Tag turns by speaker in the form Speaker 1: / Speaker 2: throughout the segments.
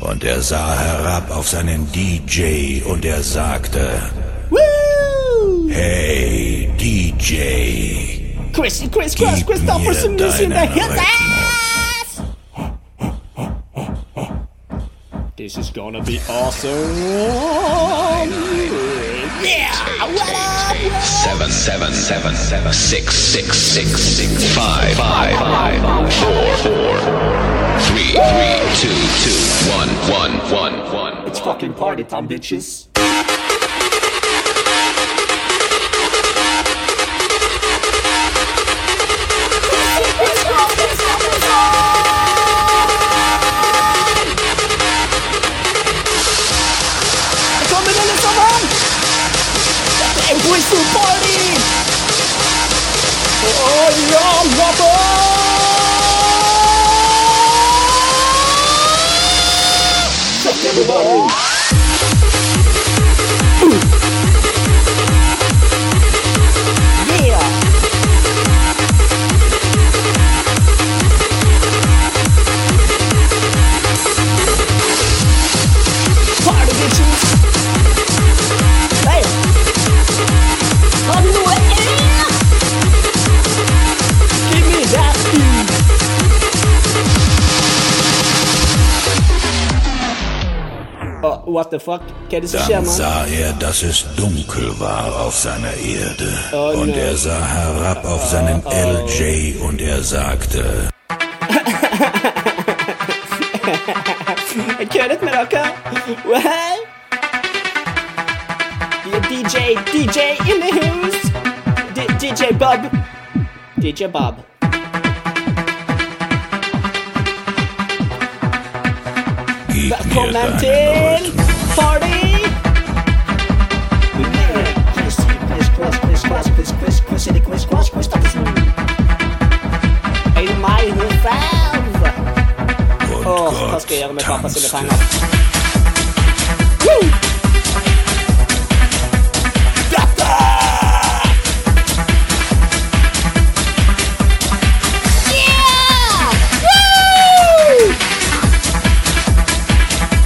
Speaker 1: Und er sah herab auf seinen DJ und er sagte,
Speaker 2: Woo!
Speaker 1: hey DJ,
Speaker 2: Chris, Chris, Chris,
Speaker 1: Gib
Speaker 2: Christopherson
Speaker 1: mir
Speaker 2: ist in der
Speaker 1: deinen
Speaker 2: Hitze! This is gonna be awesome! Yeah! What up?
Speaker 3: seven seven seven seven six six six six five five five four four three three two two one one one one
Speaker 2: It's fucking party time, bitches! Willkommen in der Sommer! Impuls to Party! Oh ja, Wappa! Fuck everybody! Yeah! Party bitches! Hey! Up in the air! Give me that beat! Oh, what the fuck? Quer dizer
Speaker 1: dann
Speaker 2: chama?
Speaker 1: sah er, dass es dunkel war auf seiner Erde.
Speaker 2: Oh,
Speaker 1: und
Speaker 2: no. Oh,
Speaker 1: er sah herab auf seinen LJ und er sagte,
Speaker 2: Köret med dere? Well? Det er DJ, DJ in the house! D DJ Bob. DJ Bob.
Speaker 1: gib mir
Speaker 2: Välkommen
Speaker 1: deinen
Speaker 2: till
Speaker 1: Rhythmus.
Speaker 2: party! Quiz, quiz, quiz, quiz, quiz, quiz, quiz, quiz, quiz, quiz, quiz, quiz, quiz, In my house!
Speaker 1: Und
Speaker 2: Åh, vad
Speaker 1: Gott
Speaker 2: ska jag göra med pappas
Speaker 1: tanzte.
Speaker 2: elefanter? Woo! Detta! Yeah! Woo!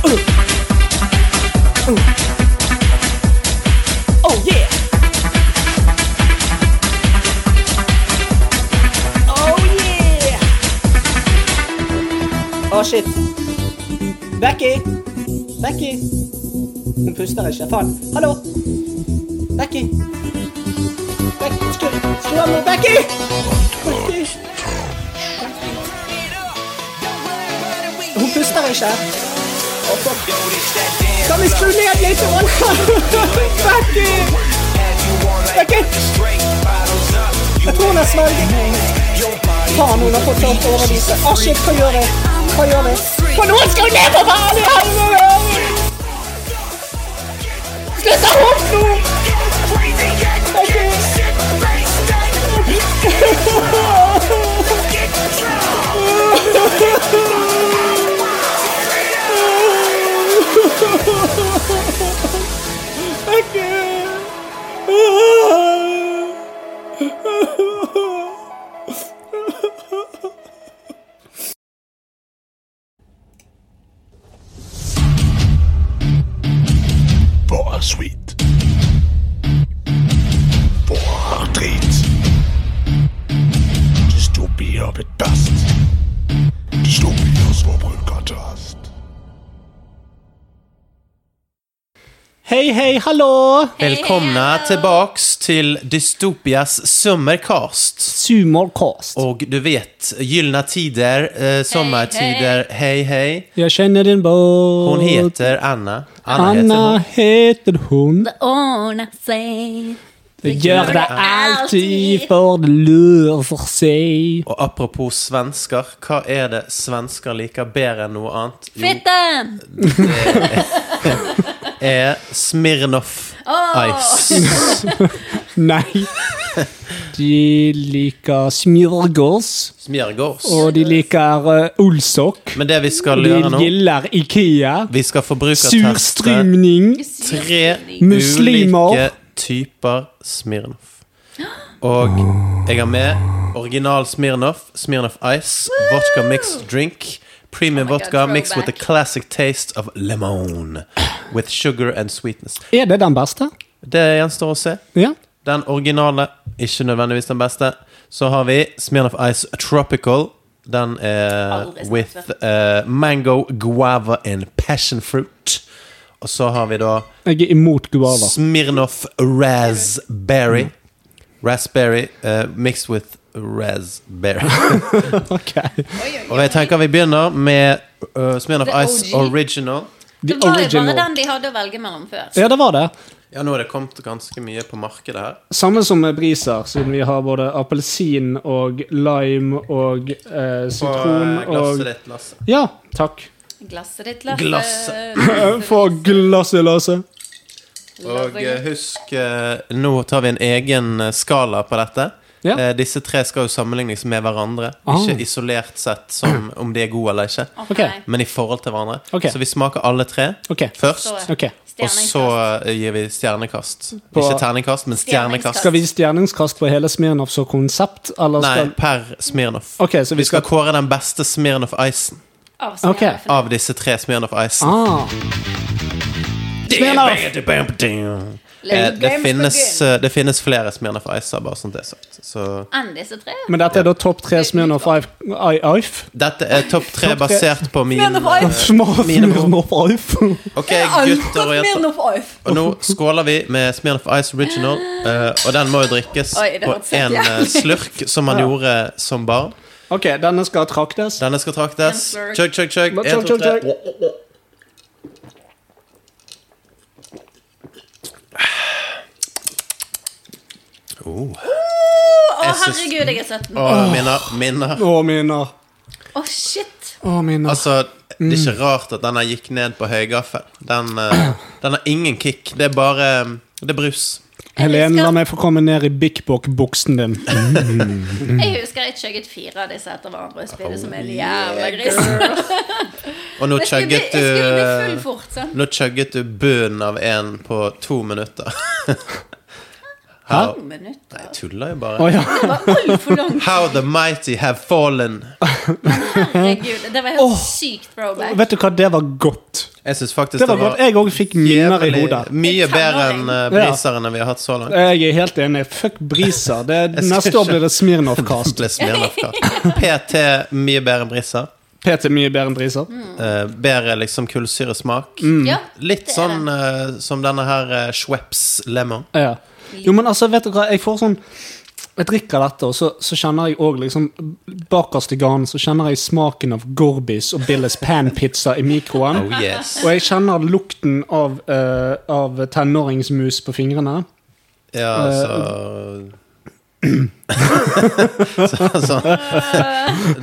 Speaker 2: Uh. Uh. Oh yeah! Oh yeah! Å, Oh, shit. Becky! Becky! Hun puster ikke. Faen. Hallo! Becky! Beck- Skru skru av nå, Becky! Becky! Hun puster ikke. Å, fuck. Kan vi skru ned litt? Becky! Becky! Jeg tror hun har svelget. Faen, hun har fått sånn overlyse. Å, shit, hva gjør jeg? Hva gjør jeg? Kan noen skru ned på vanlig helvete? Slutt å hoppe nå!
Speaker 4: Bara skit. Bara drit. Dystopier mit Bast. Dystopier Svobrödkontrast.
Speaker 5: Hej, hej, hallå! Välkomna tillbaks till Dystopias Summercast.
Speaker 2: Sumorkast.
Speaker 5: Och du vet, gyllene tider, eh, sommartider, hej, hej.
Speaker 2: Jag känner en båt.
Speaker 5: Hon heter Anna. Anna,
Speaker 2: Anna
Speaker 5: heter
Speaker 2: heter hon.
Speaker 6: ordnar sig.
Speaker 2: Det gör det alltid
Speaker 6: alltid.
Speaker 2: för det löser sig.
Speaker 5: hon. Och apropå svenskar, vad är det svenskar lika bättre än något annat? Jo,
Speaker 6: Fittan!
Speaker 5: är Smirnoff Ice.
Speaker 2: Nej. De liker smörgås
Speaker 5: Smörgås.
Speaker 2: och de liker eh, ullsock.
Speaker 5: Men det vi ska göra
Speaker 2: De
Speaker 5: nu,
Speaker 2: gillar Ikea.
Speaker 5: vi ska förbrukartesta
Speaker 2: Surströmning.
Speaker 5: tre
Speaker 2: Muslimer.
Speaker 5: ulike typer Smirnoff. Og jeg har med original Smirnoff, Smirnoff Ice, vodka mixed drink, Premium
Speaker 6: Oh my God,
Speaker 5: vodka mixed with
Speaker 6: throwback.
Speaker 5: a classic taste of lemon. With sugar and sweetness.
Speaker 7: Er det den beste?
Speaker 5: Det gjenstår å se.
Speaker 7: Ja.
Speaker 5: Den originale, ikke nødvendigvis den beste. Så har vi Smirnoff Ice Tropical. Den er
Speaker 6: Aldri smakt
Speaker 5: with eh, mango, guava and passion fruit. Og så har vi da
Speaker 7: Jeg er imot guava.
Speaker 5: Smirnoff Raspberry. Raspberry eh, mixed with raspberry.
Speaker 7: Ok.
Speaker 6: Oi, oi, oi.
Speaker 5: Og jeg tenker vi begynner med uh, Smirnoff
Speaker 6: The
Speaker 5: Ice
Speaker 6: OG.
Speaker 5: Original.
Speaker 7: The
Speaker 6: Det var jo bare
Speaker 7: original.
Speaker 6: den de hadde å velge mellom før.
Speaker 7: Ja, det var det.
Speaker 5: Ja, nå er det kommet ganske mye på markedet her.
Speaker 7: Samme som med briser, siden vi har både appelsin og lime og eh,
Speaker 5: På
Speaker 7: sitron
Speaker 5: eh,
Speaker 7: og
Speaker 5: glasset ditt, Lasse.
Speaker 7: Ja, takk.
Speaker 6: Glasset ditt, Lasse.
Speaker 5: Glasset.
Speaker 7: Få glasset, Lasse.
Speaker 5: Og eh, husk, eh, nå tar vi en egen eh, skala på dette.
Speaker 7: Ja.
Speaker 5: Eh, Disse tre skal jo sammenlignes med hverandre.
Speaker 7: Ah.
Speaker 5: Ikke isolert sett som om de er gode eller ikke,
Speaker 6: Ok.
Speaker 7: Ok.
Speaker 5: men i forhold til hverandre.
Speaker 7: Ok.
Speaker 5: Så vi smaker alle tre
Speaker 7: Ok.
Speaker 5: først.
Speaker 6: Så,
Speaker 7: Ok.
Speaker 5: Og
Speaker 6: stjernekast.
Speaker 5: så eh, gir vi stjernekast.
Speaker 7: På-
Speaker 5: Ikke terningkast, men stjernekast.
Speaker 7: Skal vi stjerningskast på hele Smirnoff som konsept, eller
Speaker 5: Nei,
Speaker 7: skal
Speaker 5: per Smirnov.
Speaker 7: Ok, så vi
Speaker 5: Vi skal
Speaker 7: skal
Speaker 5: kåre den beste Smirnov Icen
Speaker 6: Av som
Speaker 7: Ok.
Speaker 6: jeg har funnet.
Speaker 5: av disse tre Smirnov Icen.
Speaker 7: ah. Smirnoff!
Speaker 5: Eh,
Speaker 6: Little
Speaker 5: det,
Speaker 6: games
Speaker 5: finnes,
Speaker 6: begin.
Speaker 5: eh, det finnes flere Smirnov Icer, bare sånn det er sagt. Så
Speaker 6: Enn disse tre.
Speaker 7: Men dette er da topp tre Smirnoff Ife? Ife?
Speaker 5: Dette er topp tre
Speaker 7: Topp tre.
Speaker 5: basert på min
Speaker 6: Smirnoff Ice.
Speaker 7: Smirnoff Ife?
Speaker 5: Ok, gutter og jenter. Og nå skåler vi med Smirnoff Ice Original. eh, og den må jo drikkes
Speaker 6: Oi, det
Speaker 5: på
Speaker 6: hørtes
Speaker 5: én
Speaker 6: helt jævlig ut.
Speaker 5: slurk, som man gjorde som barn.
Speaker 7: Ok, denne skal traktes.
Speaker 5: Denne skal traktes.
Speaker 6: En slurk.
Speaker 5: Chug, chug, chug.
Speaker 7: Bare
Speaker 5: En,
Speaker 7: chug, chug,
Speaker 5: to, tre.
Speaker 7: chug.
Speaker 6: Å, herregud, jeg er 17. Å,
Speaker 5: Og minner. minner.
Speaker 7: Å, minner.
Speaker 6: shit.
Speaker 7: Å, minner.
Speaker 5: Altså, det er ikke
Speaker 7: Mm.
Speaker 5: rart at denne gikk ned på høygaffel. Den, eh, den har ingen kick. Det er bare Det er brus.
Speaker 7: Helen,
Speaker 6: husker-
Speaker 7: la meg få komme ned i Big Bock-buksen din.
Speaker 6: Jeg husker jeg chugget fire av disse etter hverandre og spydde som en jævla gris. Jeg
Speaker 5: Og nå
Speaker 6: skulle bli,
Speaker 5: chugget
Speaker 6: jeg skulle bli full
Speaker 5: du eh,
Speaker 6: fort, sånn. sant.
Speaker 5: Nå chugget du bunnen av én på to minutter. How,
Speaker 6: To minutter.
Speaker 5: Jeg tuller jo bare.
Speaker 7: Å ja.
Speaker 6: Det var altfor langt.
Speaker 5: How the mighty have fallen.
Speaker 6: Herregud, det var helt sykt throwback.
Speaker 7: Vet du hva, det var godt.
Speaker 5: Jeg syns faktisk
Speaker 7: Det var godt. Jeg òg fikk minner i
Speaker 5: jævlig-
Speaker 7: hodet.
Speaker 5: Mye
Speaker 6: En
Speaker 5: bedre enn
Speaker 6: tenåring.
Speaker 5: eh, briserne vi har hatt så langt.
Speaker 7: Jeg er helt enig. Fuck briser. Det, neste år blir det Smirnoff-kast.
Speaker 5: Litt Smirnoff-kaffe. PT mye bedre enn briser.
Speaker 7: PT er mye bedre enn briser.
Speaker 5: Eh, bedre liksom
Speaker 7: Mm.
Speaker 5: kullsyresmak.
Speaker 6: Ja,
Speaker 5: Litt
Speaker 6: det er
Speaker 5: sånn eh, som denne her uh, Schweppes Lemon.
Speaker 7: Ja. Jo, men altså, vet du hva, jeg får sånn Jeg drikker dette, og så, så kjenner jeg òg liksom Bakerst i ganen så kjenner jeg smaken av Gorbis og Billes panpizza i mikroen.
Speaker 5: Oh yes.
Speaker 7: Og jeg kjenner lukten av, eh, av tenåringsmus på fingrene.
Speaker 5: Ja,
Speaker 7: Eh, mm.
Speaker 5: så så, så.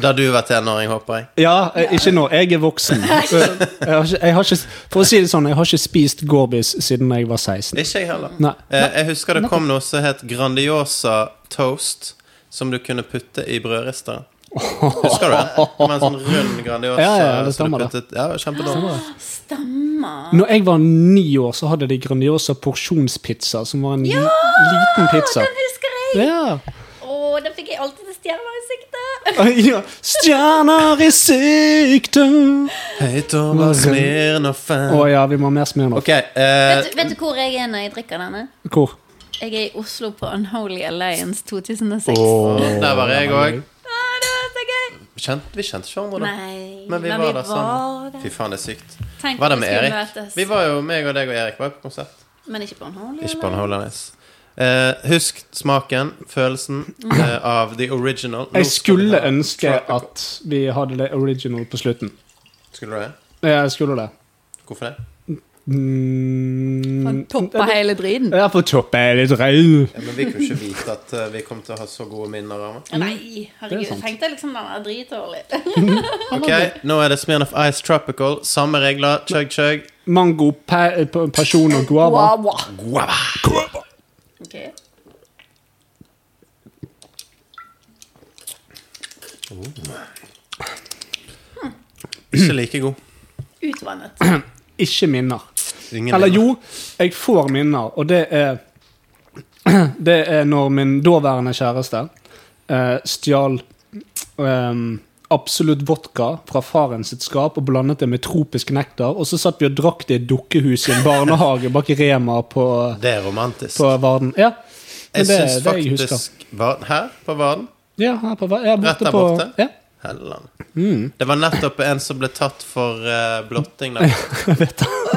Speaker 5: Da du var tenåring, håper jeg.
Speaker 7: Ja, eh, ikke nå. Jeg er voksen. Eh, Jeg har ikke, jeg har ikke, for å si det sånn, jeg har ikke spist Gorbis siden jeg var 16.
Speaker 5: Ikke jeg heller.
Speaker 7: Nei.
Speaker 5: Eh, jeg husker det kom noe som het Grandiosa toast, som du kunne putte i brødristeren. Husker du det? Det var en sånn rund Grandiosa.
Speaker 7: Ja, ja, det
Speaker 5: som du
Speaker 7: stemmer det.
Speaker 5: puttet- Ja, kjempedårlig.
Speaker 6: Stemmer.
Speaker 7: Når jeg var ni år, så hadde de Grandiosa porsjonspizza, som var en li- liten pizza.
Speaker 6: Den husker jeg.
Speaker 7: Ja.
Speaker 6: Å, den fikk jeg alltid til stjerner i sikte.
Speaker 7: Oi, ja. Stjerner i sikte
Speaker 5: Høyt over Smirnoffen.
Speaker 7: Å ja, vi må ha mer Smirnoff.
Speaker 5: Ok, eh,
Speaker 6: Vet, du- vet du hvor jeg er når jeg drikker denne?
Speaker 7: Hvor?
Speaker 6: Jeg er i Oslo på Unholy Alliance 2006.
Speaker 5: der var jeg òg.
Speaker 6: Ah, det var så gøy!
Speaker 5: Kjent, vi kjente ikke hverandre da.
Speaker 6: Nei,
Speaker 5: Men vi var der sammen. Fy faen, det er sykt.
Speaker 6: Tenk
Speaker 5: Var det
Speaker 6: om
Speaker 5: med
Speaker 6: vi skulle
Speaker 5: Erik?
Speaker 6: møtes.
Speaker 5: Vi var jo, meg og deg og Erik var jo på konsert.
Speaker 6: Men ikke på Unholy?
Speaker 5: Ikke
Speaker 6: eller?
Speaker 5: Hollandis. Eh, husk smaken, følelsen eh, av the original. Nå skal
Speaker 7: Jeg skulle
Speaker 5: vi ha-
Speaker 7: ønske at vi hadde det original på slutten.
Speaker 5: Skulle du det?
Speaker 7: Jeg skulle det.
Speaker 5: Hvorfor det?
Speaker 7: Mm,
Speaker 6: Han toppa hele driten.
Speaker 7: jeg får toppe litt rein.
Speaker 5: Ja, men vi kunne ikke vite at eh, vi kom til å ha så gode minner av det.
Speaker 6: Nei,
Speaker 7: Det
Speaker 6: herregud.
Speaker 7: er sant.
Speaker 6: Tenkte jeg liksom den er dritdårlig.
Speaker 5: Ok, nå er det Smirnoff Ice Tropical. Samme regler. Chug, chug.
Speaker 7: Mango, pa pa- pasjon og guava.
Speaker 6: Wow, wow.
Speaker 5: Guava.
Speaker 6: Ok.
Speaker 5: Ikke like god.
Speaker 6: Utvannet.
Speaker 7: Ikke minner.
Speaker 5: Ingen
Speaker 7: Eller
Speaker 5: minner.
Speaker 7: jo, jeg får minner, og det er Det er når min daværende kjæreste eh, stjal um, absolutt vodka fra faren sitt skap og blandet det med tropisk nektar. Og så satt vi og drakk det i et dukkehus i en barnehage bak i Rema på,
Speaker 5: Det er romantisk.
Speaker 7: på Varden. Ja, men
Speaker 5: jeg
Speaker 7: det,
Speaker 5: syns
Speaker 7: det jeg husker.
Speaker 5: faktisk var, Her på Varden?
Speaker 7: Ja, her på, Var- ja,
Speaker 5: Rett
Speaker 7: borte
Speaker 5: der
Speaker 7: på,
Speaker 5: borte?
Speaker 7: ja,
Speaker 5: Helland.
Speaker 7: Mm.
Speaker 5: Det var nettopp en som ble tatt for eh, blotting der.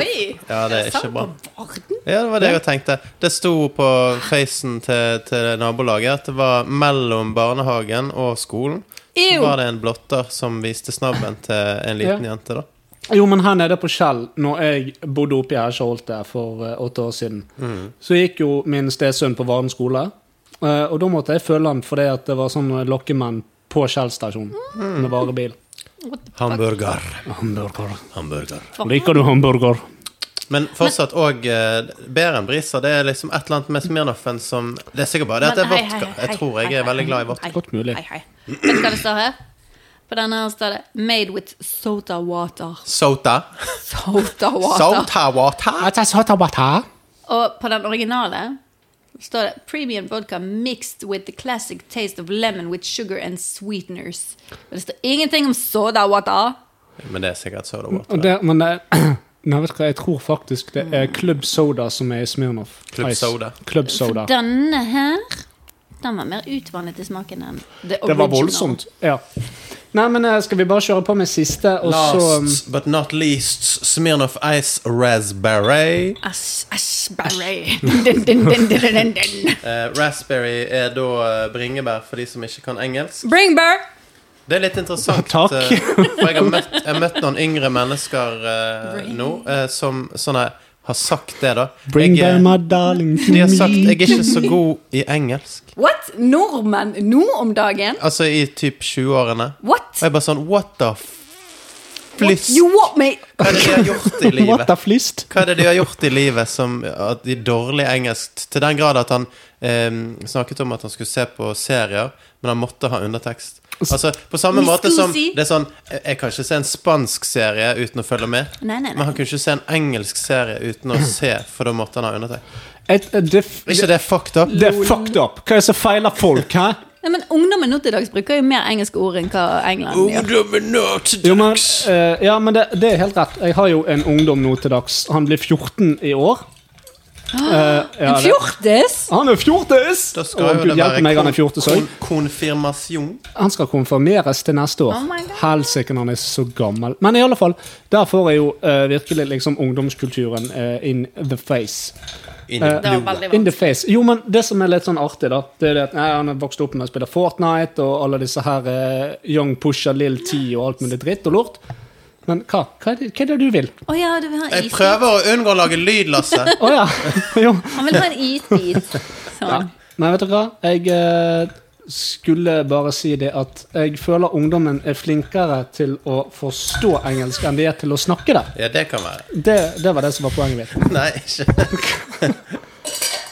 Speaker 6: Oi!
Speaker 5: Ja, det er
Speaker 6: sant
Speaker 5: ikke bra.
Speaker 6: på Varden?
Speaker 5: Ja, det var det jeg tenkte. Det sto på facen til, til nabolaget at det var mellom barnehagen og skolen. Så
Speaker 6: Ew.
Speaker 5: var det en blotter som viste snabben til en liten
Speaker 7: Ja.
Speaker 5: jente, da.
Speaker 7: Jo, men her nede på Skjell, når jeg bodde oppi her Skjold der for eh, åtte år siden,
Speaker 5: Mm.
Speaker 7: så gikk jo min stesønn på Varen skole. eh, og da måtte jeg følge han fordi at det var sånn eh, lokkemenn på Skjell stasjon
Speaker 5: Mm.
Speaker 7: med varebil.
Speaker 1: Hamburger.
Speaker 7: Hamburger.
Speaker 1: Hamburger.
Speaker 7: Liker du hamburger?
Speaker 5: Men fortsatt òg eh, bedre enn Brisa. Det er liksom et eller annet med Smirnoffen som Det er sikkert bare det at det er
Speaker 6: Men hei,
Speaker 5: vodka.
Speaker 6: hei, hei,
Speaker 5: Jeg tror
Speaker 6: hei,
Speaker 5: jeg er
Speaker 6: hei,
Speaker 5: veldig glad i vodka.
Speaker 6: hei,
Speaker 7: Godt mulig.
Speaker 6: Hei, hei. Vet du hva det står her? På denne her står det 'Made with soda water'.
Speaker 5: Sota.
Speaker 6: Soda water.
Speaker 5: Sota water.
Speaker 6: Og på den originale står det 'Premium vodka mixed with the classic taste of lemon with sugar and sweeteners'. Men det står ingenting om soda water.
Speaker 5: Men det er sikkert soda water.
Speaker 7: Og Det, men det, nei, vet du hva, jeg tror faktisk det er Club Soda som er i Smirnoff.
Speaker 5: Club
Speaker 7: Ice.
Speaker 5: Soda.
Speaker 7: Club Soda.
Speaker 6: Denne her den var mer utvannet i smaken enn the
Speaker 7: Det var
Speaker 6: original.
Speaker 7: voldsomt. Ja. Nei, men eh, skal vi bare kjøre på med siste, og så um,
Speaker 5: Last but not least, Smirnoff Ice Raspberry.
Speaker 6: Æsj, æsj, barray. Din, din, din, din, din, din.
Speaker 5: Eh, raspberry er da eh, bringebær for de som ikke kan engelsk.
Speaker 6: Bring bear!
Speaker 5: Det er litt interessant,
Speaker 7: Takk.
Speaker 5: eh, for jeg har møtt, jeg har møtt noen yngre mennesker eh, nå eh, som sånne, har sagt det, da.
Speaker 7: Bring
Speaker 5: Jeg, eh,
Speaker 7: back my darling to
Speaker 5: de har sagt
Speaker 7: me.
Speaker 5: 'jeg er ikke så god i engelsk'.
Speaker 6: What? Nordmenn nå om dagen?
Speaker 5: Altså i typ 20-årene.
Speaker 6: What?
Speaker 5: Og jeg bare sånn What the fliss?
Speaker 6: You want me?
Speaker 5: Hva er det de har gjort i
Speaker 7: What
Speaker 5: livet?
Speaker 7: the flist?
Speaker 5: Hva er det de har gjort i livet som at de er dårlig engelsk Til den grad at han eh, snakket om at han skulle se på serier, men han måtte ha undertekst. Altså, På samme
Speaker 6: Mi
Speaker 5: måte som
Speaker 6: scusi.
Speaker 5: det er sånn Jeg jeg kan ikke se en spansk serie uten å følge med.
Speaker 6: Nei, nei, nei.
Speaker 5: Men han kunne ikke se en engelsk serie uten å se, for da måtte han ha undertekst.
Speaker 7: Et, et, det,
Speaker 5: Er ikke det fucked up?
Speaker 7: det er fucked up. Hva er det som feiler folk, hæ?
Speaker 6: Nei, men Ungdommen nå til dags bruker jo mer engelske ord enn hva England gjør.
Speaker 1: Ungdommen nå til
Speaker 7: Jo, men,
Speaker 1: dags.
Speaker 7: eh, ja, men det, det er helt rett. Jeg har jo en ungdom nå til dags. Han blir 14 i år. Eh, ja,
Speaker 6: Ah, En
Speaker 7: det-
Speaker 6: fjortis!
Speaker 7: han er fjortis!
Speaker 5: Da skal
Speaker 7: Å,
Speaker 5: jo
Speaker 7: Gud
Speaker 5: det
Speaker 7: hjelpe
Speaker 5: være
Speaker 7: meg, han er
Speaker 5: kon-
Speaker 7: 14 så.
Speaker 5: kon- konfirmasjon.
Speaker 7: Han skal konfirmeres til neste år.
Speaker 6: Oh my God.
Speaker 7: Helsike, han er så gammel. Men i alle fall, der får jeg jo eh, virkelig liksom ungdomskulturen eh, in the face. Eh,
Speaker 5: Inn i
Speaker 6: Det var
Speaker 5: blodet.
Speaker 6: veldig
Speaker 7: In the
Speaker 6: vanskelig.
Speaker 7: face. Jo, men det som er litt sånn artig, da, det er det at nei, han har vokst opp med å spille Fortnite og alle disse her eh, Young Pusha, Lill T og alt mulig dritt og lort. Men hva? Hva er det, hva er det du vil?
Speaker 6: Å ja, du vil ha en
Speaker 5: Jeg
Speaker 6: isbit?
Speaker 5: prøver å unngå å lage lyd, Lasse.
Speaker 7: Å ja. jo.
Speaker 6: Han vil ha en isbit. Sånn.
Speaker 7: Men vet du hva? Jeg eh, skulle bare si det at jeg føler ungdommen er flinkere til å forstå engelsk enn de er til å snakke det.
Speaker 5: Ja, det kan være.
Speaker 7: Det, det var det som var poenget mitt.
Speaker 5: Nei, ikke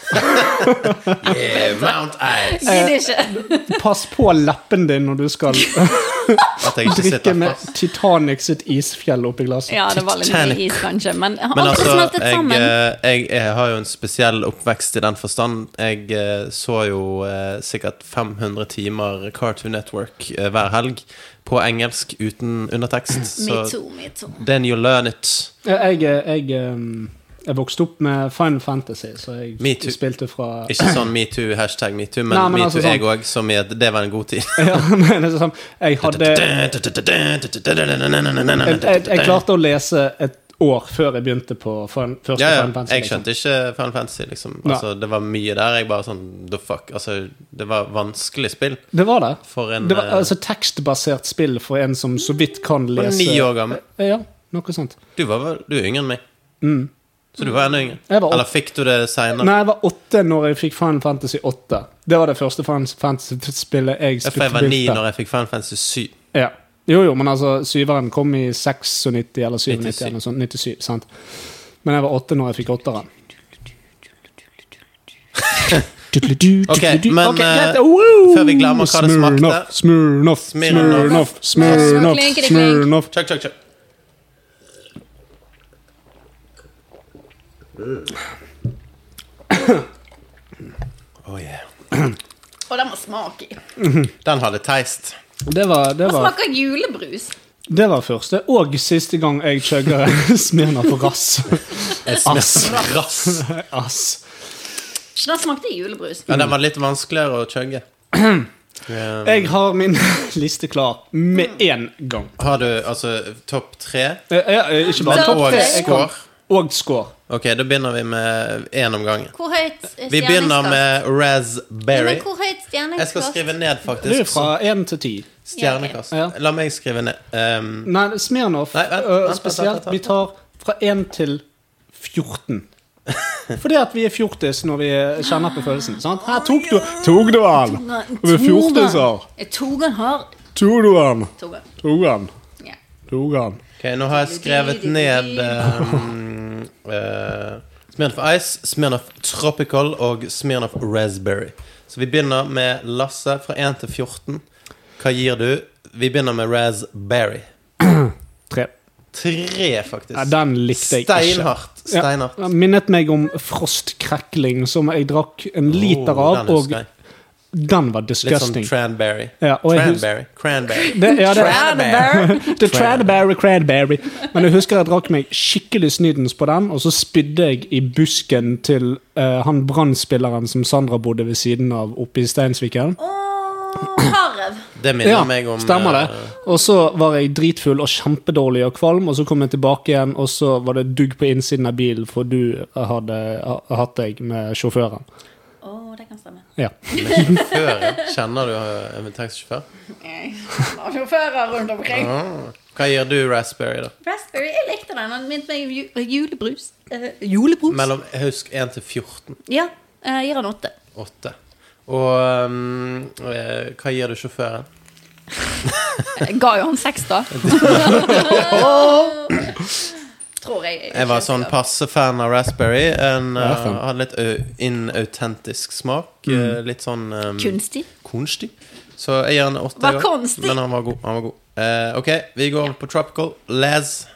Speaker 5: yeah, Mount Ice.
Speaker 6: Gidder ikke.
Speaker 7: Pass på leppen din når du skal
Speaker 5: At jeg ikke
Speaker 7: drikke
Speaker 5: sitter
Speaker 7: med
Speaker 5: fast.
Speaker 7: Titanic sitt isfjell oppi glasset.
Speaker 6: Ja, det var litt mye
Speaker 5: Titanic.
Speaker 6: is, kanskje, men har
Speaker 5: Men
Speaker 6: alt
Speaker 5: altså,
Speaker 6: smeltet
Speaker 5: jeg,
Speaker 6: sammen?
Speaker 5: eh, jeg, jeg har jo en spesiell oppvekst i den forstand. Jeg eh, så jo eh, sikkert 500 timer Cartoon Network eh, hver helg på engelsk uten undertekst.
Speaker 6: Me
Speaker 5: Så
Speaker 6: too, me too.
Speaker 5: then you learn it.
Speaker 7: Jeg, jeg, um, jeg vokste opp med Final Fantasy, så
Speaker 5: Me
Speaker 7: jeg
Speaker 5: too.
Speaker 7: spilte fra
Speaker 5: Ikke sånn metoo, hashtag metoo, men,
Speaker 7: Nei, men
Speaker 5: metoo
Speaker 7: altså sånn-
Speaker 5: jeg òg, som i at det var en god tid.
Speaker 7: ja, men det er sånn, jeg, hadde, jeg, jeg, jeg klarte å lese et år før jeg begynte på fin, første Final
Speaker 5: Ja, ja.
Speaker 7: Fantasy. liksom.
Speaker 5: Jeg skjønte ikke Final Fantasy, liksom.
Speaker 7: Nei.
Speaker 5: Altså, det var mye der. Jeg bare sånn The fuck. Altså, det var vanskelig spill
Speaker 7: Det var det.
Speaker 5: for en
Speaker 7: Det var
Speaker 5: eh,
Speaker 7: altså tekstbasert spill for en som så vidt kan
Speaker 5: var du
Speaker 7: lese
Speaker 5: eh,
Speaker 7: Eh,
Speaker 5: ni år gammel.
Speaker 7: Ja, noe sånt.
Speaker 5: Du var vel du er yngre enn meg. Så du var enda yngre.
Speaker 7: Mm. Jeg var åt-
Speaker 5: Eller fikk du det seinere?
Speaker 7: Nei, jeg var åtte når jeg fikk Final Fantasy 8. Det var det første Final Fantasy-spillet jeg
Speaker 5: For jeg var ni
Speaker 7: spilte.
Speaker 5: når jeg fikk Final Fantasy 7.
Speaker 7: Ja. Jo, jo, men altså, syveren kom i 96 eller 97, eller noe sånt. 97, sant? Men jeg var åtte når jeg fikk åtteren.
Speaker 5: Ok, men,
Speaker 7: greit.
Speaker 5: eh,
Speaker 7: Woo!
Speaker 5: før vi glemmer hva det smakte-
Speaker 7: Smirnoff, Smirnoff, Smirnoff, Smirnoff,
Speaker 6: Klinkety klink.
Speaker 7: Smirnoff.
Speaker 5: Chuck, chuck, chuck. Oh, yeah.
Speaker 7: Mm.
Speaker 6: Og den må smake i.
Speaker 7: Oh,
Speaker 5: Den hadde teist.
Speaker 7: Det var, det
Speaker 6: Hva
Speaker 7: var,
Speaker 6: smaker julebrus?
Speaker 7: det var første og siste gang jeg chugga Smirna på rass. Ass.
Speaker 5: Rass.
Speaker 7: Ass.
Speaker 6: Den smakte julebrus.
Speaker 5: Ja, den var litt vanskeligere å chugge. Eh,
Speaker 7: Jeg har min liste klar med en gang.
Speaker 5: har du altså topp tre?
Speaker 7: Eh, eh, Ikke bare
Speaker 6: Men-
Speaker 7: topp
Speaker 5: Og
Speaker 7: tre. jeg kan-
Speaker 5: score?
Speaker 7: Og score.
Speaker 5: Ok, da begynner vi med én om gangen.
Speaker 6: Hvor høyt er
Speaker 5: Vi begynner med
Speaker 6: Ja,
Speaker 5: Raspberry.
Speaker 6: men hvor høyt stjernekast?
Speaker 5: Jeg skal skrive ned,
Speaker 7: Det er
Speaker 5: faktisk.
Speaker 7: fra én til ti.
Speaker 5: Stjernekast.
Speaker 7: Ja.
Speaker 5: La meg skrive ned. Ehm,
Speaker 7: Nei, Smirnov
Speaker 5: Nei, vent,
Speaker 7: øh,
Speaker 5: vent, vent, vent,
Speaker 7: spesielt.
Speaker 5: vent.
Speaker 7: Vi tar fra 1 til 14. Fordi at vi er fjortis når vi kjenner på følelsen. sant? Her tok du Tok du han? Vi er fjortiser.
Speaker 6: Togan har
Speaker 7: Tok du han?
Speaker 6: Togan.
Speaker 7: Tok han?
Speaker 6: Ja.
Speaker 7: Tok han?
Speaker 5: ok, nå har jeg skrevet ned ehm, eh, Smirnoff Ice, Smirnoff Tropical og Smirnoff Raspberry. Så vi begynner med Lasse fra 1 til 14. Hva gir du? Vi begynner med Raspberry.
Speaker 7: Tre.
Speaker 5: Tre, faktisk.
Speaker 7: Ja, den likte jeg ikke.
Speaker 5: Steinhardt.
Speaker 7: Ja,
Speaker 5: Steinhardt.
Speaker 7: den minnet meg om frostkrekling, som jeg drakk en liter
Speaker 5: Oh,
Speaker 7: av,
Speaker 5: den
Speaker 7: og
Speaker 5: husker jeg.
Speaker 7: den var
Speaker 5: Litt sånn
Speaker 7: disgusting.
Speaker 5: tranberry.
Speaker 7: Ja, og jeg hus-
Speaker 5: Tranberry. Cranberry.
Speaker 7: Det, ja, det,
Speaker 5: Tranberry.
Speaker 7: The Tradberry, Cradberry. Men jeg husker jeg drakk meg skikkelig snydens på den, og så spydde jeg i busken til eh, han brannspilleren som Sandra bodde ved siden av oppe i Steinsviken.
Speaker 6: Åh, Karev.
Speaker 5: Det minner
Speaker 7: Ja,
Speaker 5: meg om
Speaker 7: stemmer det.
Speaker 5: eh,
Speaker 7: Og så var jeg dritfull og kjempedårlig og kvalm, og så kom jeg tilbake igjen, og så var det dugg på innsiden av bilen, for du hadde ha- hatt deg med sjåføren.
Speaker 6: Å, det kan stemme.
Speaker 7: Ja.
Speaker 5: eh, Før, Kjenner du eh, en taxisjåfør?
Speaker 6: Nei, han har Sjåfører rundt omkring.
Speaker 5: Ah. Hva gir du raspberry, da?
Speaker 6: Raspberry, jeg likte den. Den minte meg om ju- julebrus. Eh, julebrus?
Speaker 5: Mellom husk 1 til 14.
Speaker 6: Ja. Jeg gir den åtte.
Speaker 5: 8. Og ehm, eh, hva gir du sjåføren?
Speaker 6: Jeg Eh, ga jo han seks, da. Tror jeg.
Speaker 5: Jeg var sånn passe fan av raspberry. En, eh,
Speaker 7: Ja, fan. Mm.
Speaker 5: hadde litt au- inautentisk smak. eh, litt sånn ehm,
Speaker 6: Kunstig.
Speaker 5: kunstig. Så jeg gir han åtte.
Speaker 6: Var
Speaker 5: jeg også.
Speaker 6: konstig.
Speaker 5: Men han var god. Han var god. Eh, ok, vi går over på tropical. Laz.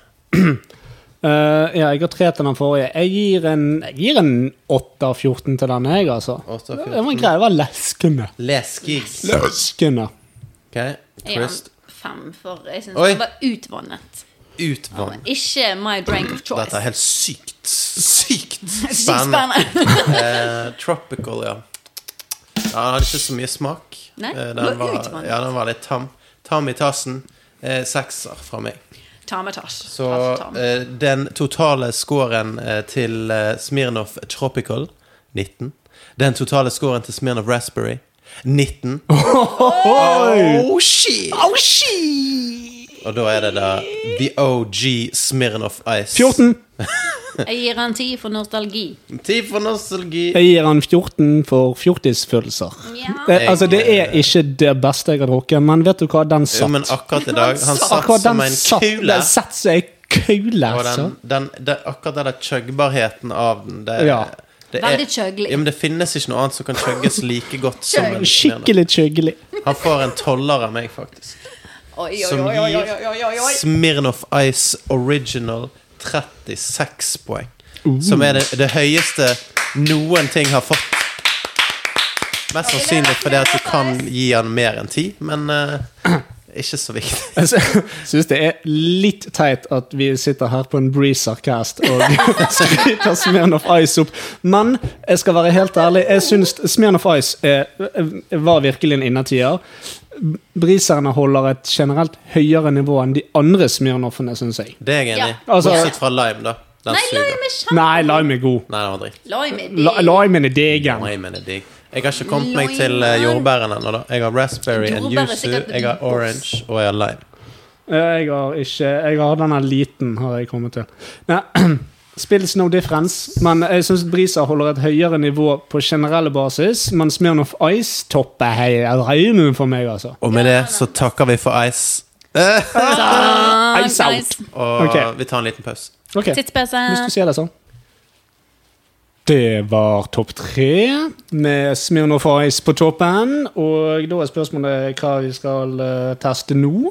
Speaker 7: Eh, ja, jeg har tre til den forrige. Jeg gir en, jeg gir en 8 av 14 til den, jeg, altså.
Speaker 5: Åtte av
Speaker 7: Det
Speaker 5: 14.
Speaker 7: var grei, det var leskende.
Speaker 5: Leskig.
Speaker 7: Leskende.
Speaker 5: Ok,
Speaker 6: Jeg gir
Speaker 5: Twist.
Speaker 6: den fem, for jeg syns
Speaker 5: Oi.
Speaker 6: den var utvannet.
Speaker 5: Utvann.
Speaker 6: Ikke my drink of choice.
Speaker 5: Dette er helt sykt. Sykt
Speaker 6: Sykt
Speaker 5: spennende.
Speaker 6: spennende.
Speaker 5: Eh, tropical, ja. ja. Den hadde ikke så mye smak.
Speaker 6: Nei,
Speaker 5: Eh, den,
Speaker 6: det var
Speaker 5: var,
Speaker 6: utvannet.
Speaker 5: ja, den var litt tam. Tam i tassen. Eh, sekser fra meg.
Speaker 6: Tarmetasj.
Speaker 5: Så eh, den totale scoren eh, til eh, Smirnov Tropical 19. Den totale scoren til Smirnov Raspberry 19. Oh, shit! Og da er det da The OG Smirnov Ice.
Speaker 7: 14.
Speaker 6: Jeg gir han ti for nostalgi.
Speaker 5: Tid for nostalgi.
Speaker 7: Jeg gir han 14 for fjortisfølelser.
Speaker 6: Ja.
Speaker 7: Det, altså, det er ikke det beste jeg har drukket, men vet du hva? Den
Speaker 5: Jo, men
Speaker 7: satt.
Speaker 5: akkurat i dag Han satt
Speaker 7: Akkurat
Speaker 5: som
Speaker 7: den
Speaker 5: en
Speaker 7: satt.
Speaker 5: kule.
Speaker 7: Den satt som ei kule.
Speaker 5: Og
Speaker 7: altså.
Speaker 5: den, den, den, akkurat den der chuggbarheten av den det,
Speaker 7: Ja.
Speaker 5: det
Speaker 6: Veldig chuggelig.
Speaker 5: Ja, men det finnes ikke noe annet som kan chugges like godt som en
Speaker 7: Skikkelig tjuggelig.
Speaker 5: Han får en toller av meg, faktisk.
Speaker 6: Oi, oi,
Speaker 5: Som
Speaker 6: oi, oi, oi, oi, oi,
Speaker 5: gir
Speaker 6: oi.
Speaker 5: Smirnoff Ice Original 36 poeng.
Speaker 7: Uh.
Speaker 5: Som er det, det høyeste noen ting har fått. Mest sannsynlig fordi at du kan gi han mer enn 10, men eh, ikke så viktig.
Speaker 7: Jeg syns Altså, det er litt teit at vi sitter her på en Breezer-cast og skryter Smirnoff Ice opp, men jeg skal være helt ærlig, jeg syns Smirnoff Ice er, eh, var virkelig en innertier. Breezerne holder et generelt høyere nivå enn de andre Smirnoffene, syns jeg.
Speaker 5: Det er jeg enig i.
Speaker 7: Ja. Altså-
Speaker 5: Bortsett fra lime, da. Den
Speaker 6: Nei,
Speaker 5: suger.
Speaker 6: lime er kjempe...
Speaker 7: Nei, lime er god.
Speaker 5: Nei, den var dritt.
Speaker 6: Lime er
Speaker 7: La-
Speaker 6: digg.
Speaker 7: Limen er degen.
Speaker 5: Lime er digg. Jeg har ikke kommet meg
Speaker 6: Lime.
Speaker 5: til eh, jordbærene ennå, da. Jeg har raspberry and
Speaker 6: Jordbær er
Speaker 5: yuzu,
Speaker 6: sikkert
Speaker 5: jeg har orange og jeg har lime.
Speaker 7: Eh, Jeg har ikke Jeg har denne liten, har jeg kommet til. Nei, Spills no difference, men jeg syns Brisa holder et høyere nivå på generell basis. Men Smirnoff Ice topper hei, regnen for meg, altså.
Speaker 5: Og med det så takker vi for ice.
Speaker 6: Ah,
Speaker 7: Ice out.
Speaker 6: nice.
Speaker 5: Og
Speaker 7: Ok.
Speaker 5: vi tar en liten pause.
Speaker 7: Ok, Hvis
Speaker 6: Tidsbese.
Speaker 7: du sier det sånn. Det var topp tre med Smirnoff Ice på toppen. Og da er spørsmålet hva vi skal eh, teste nå.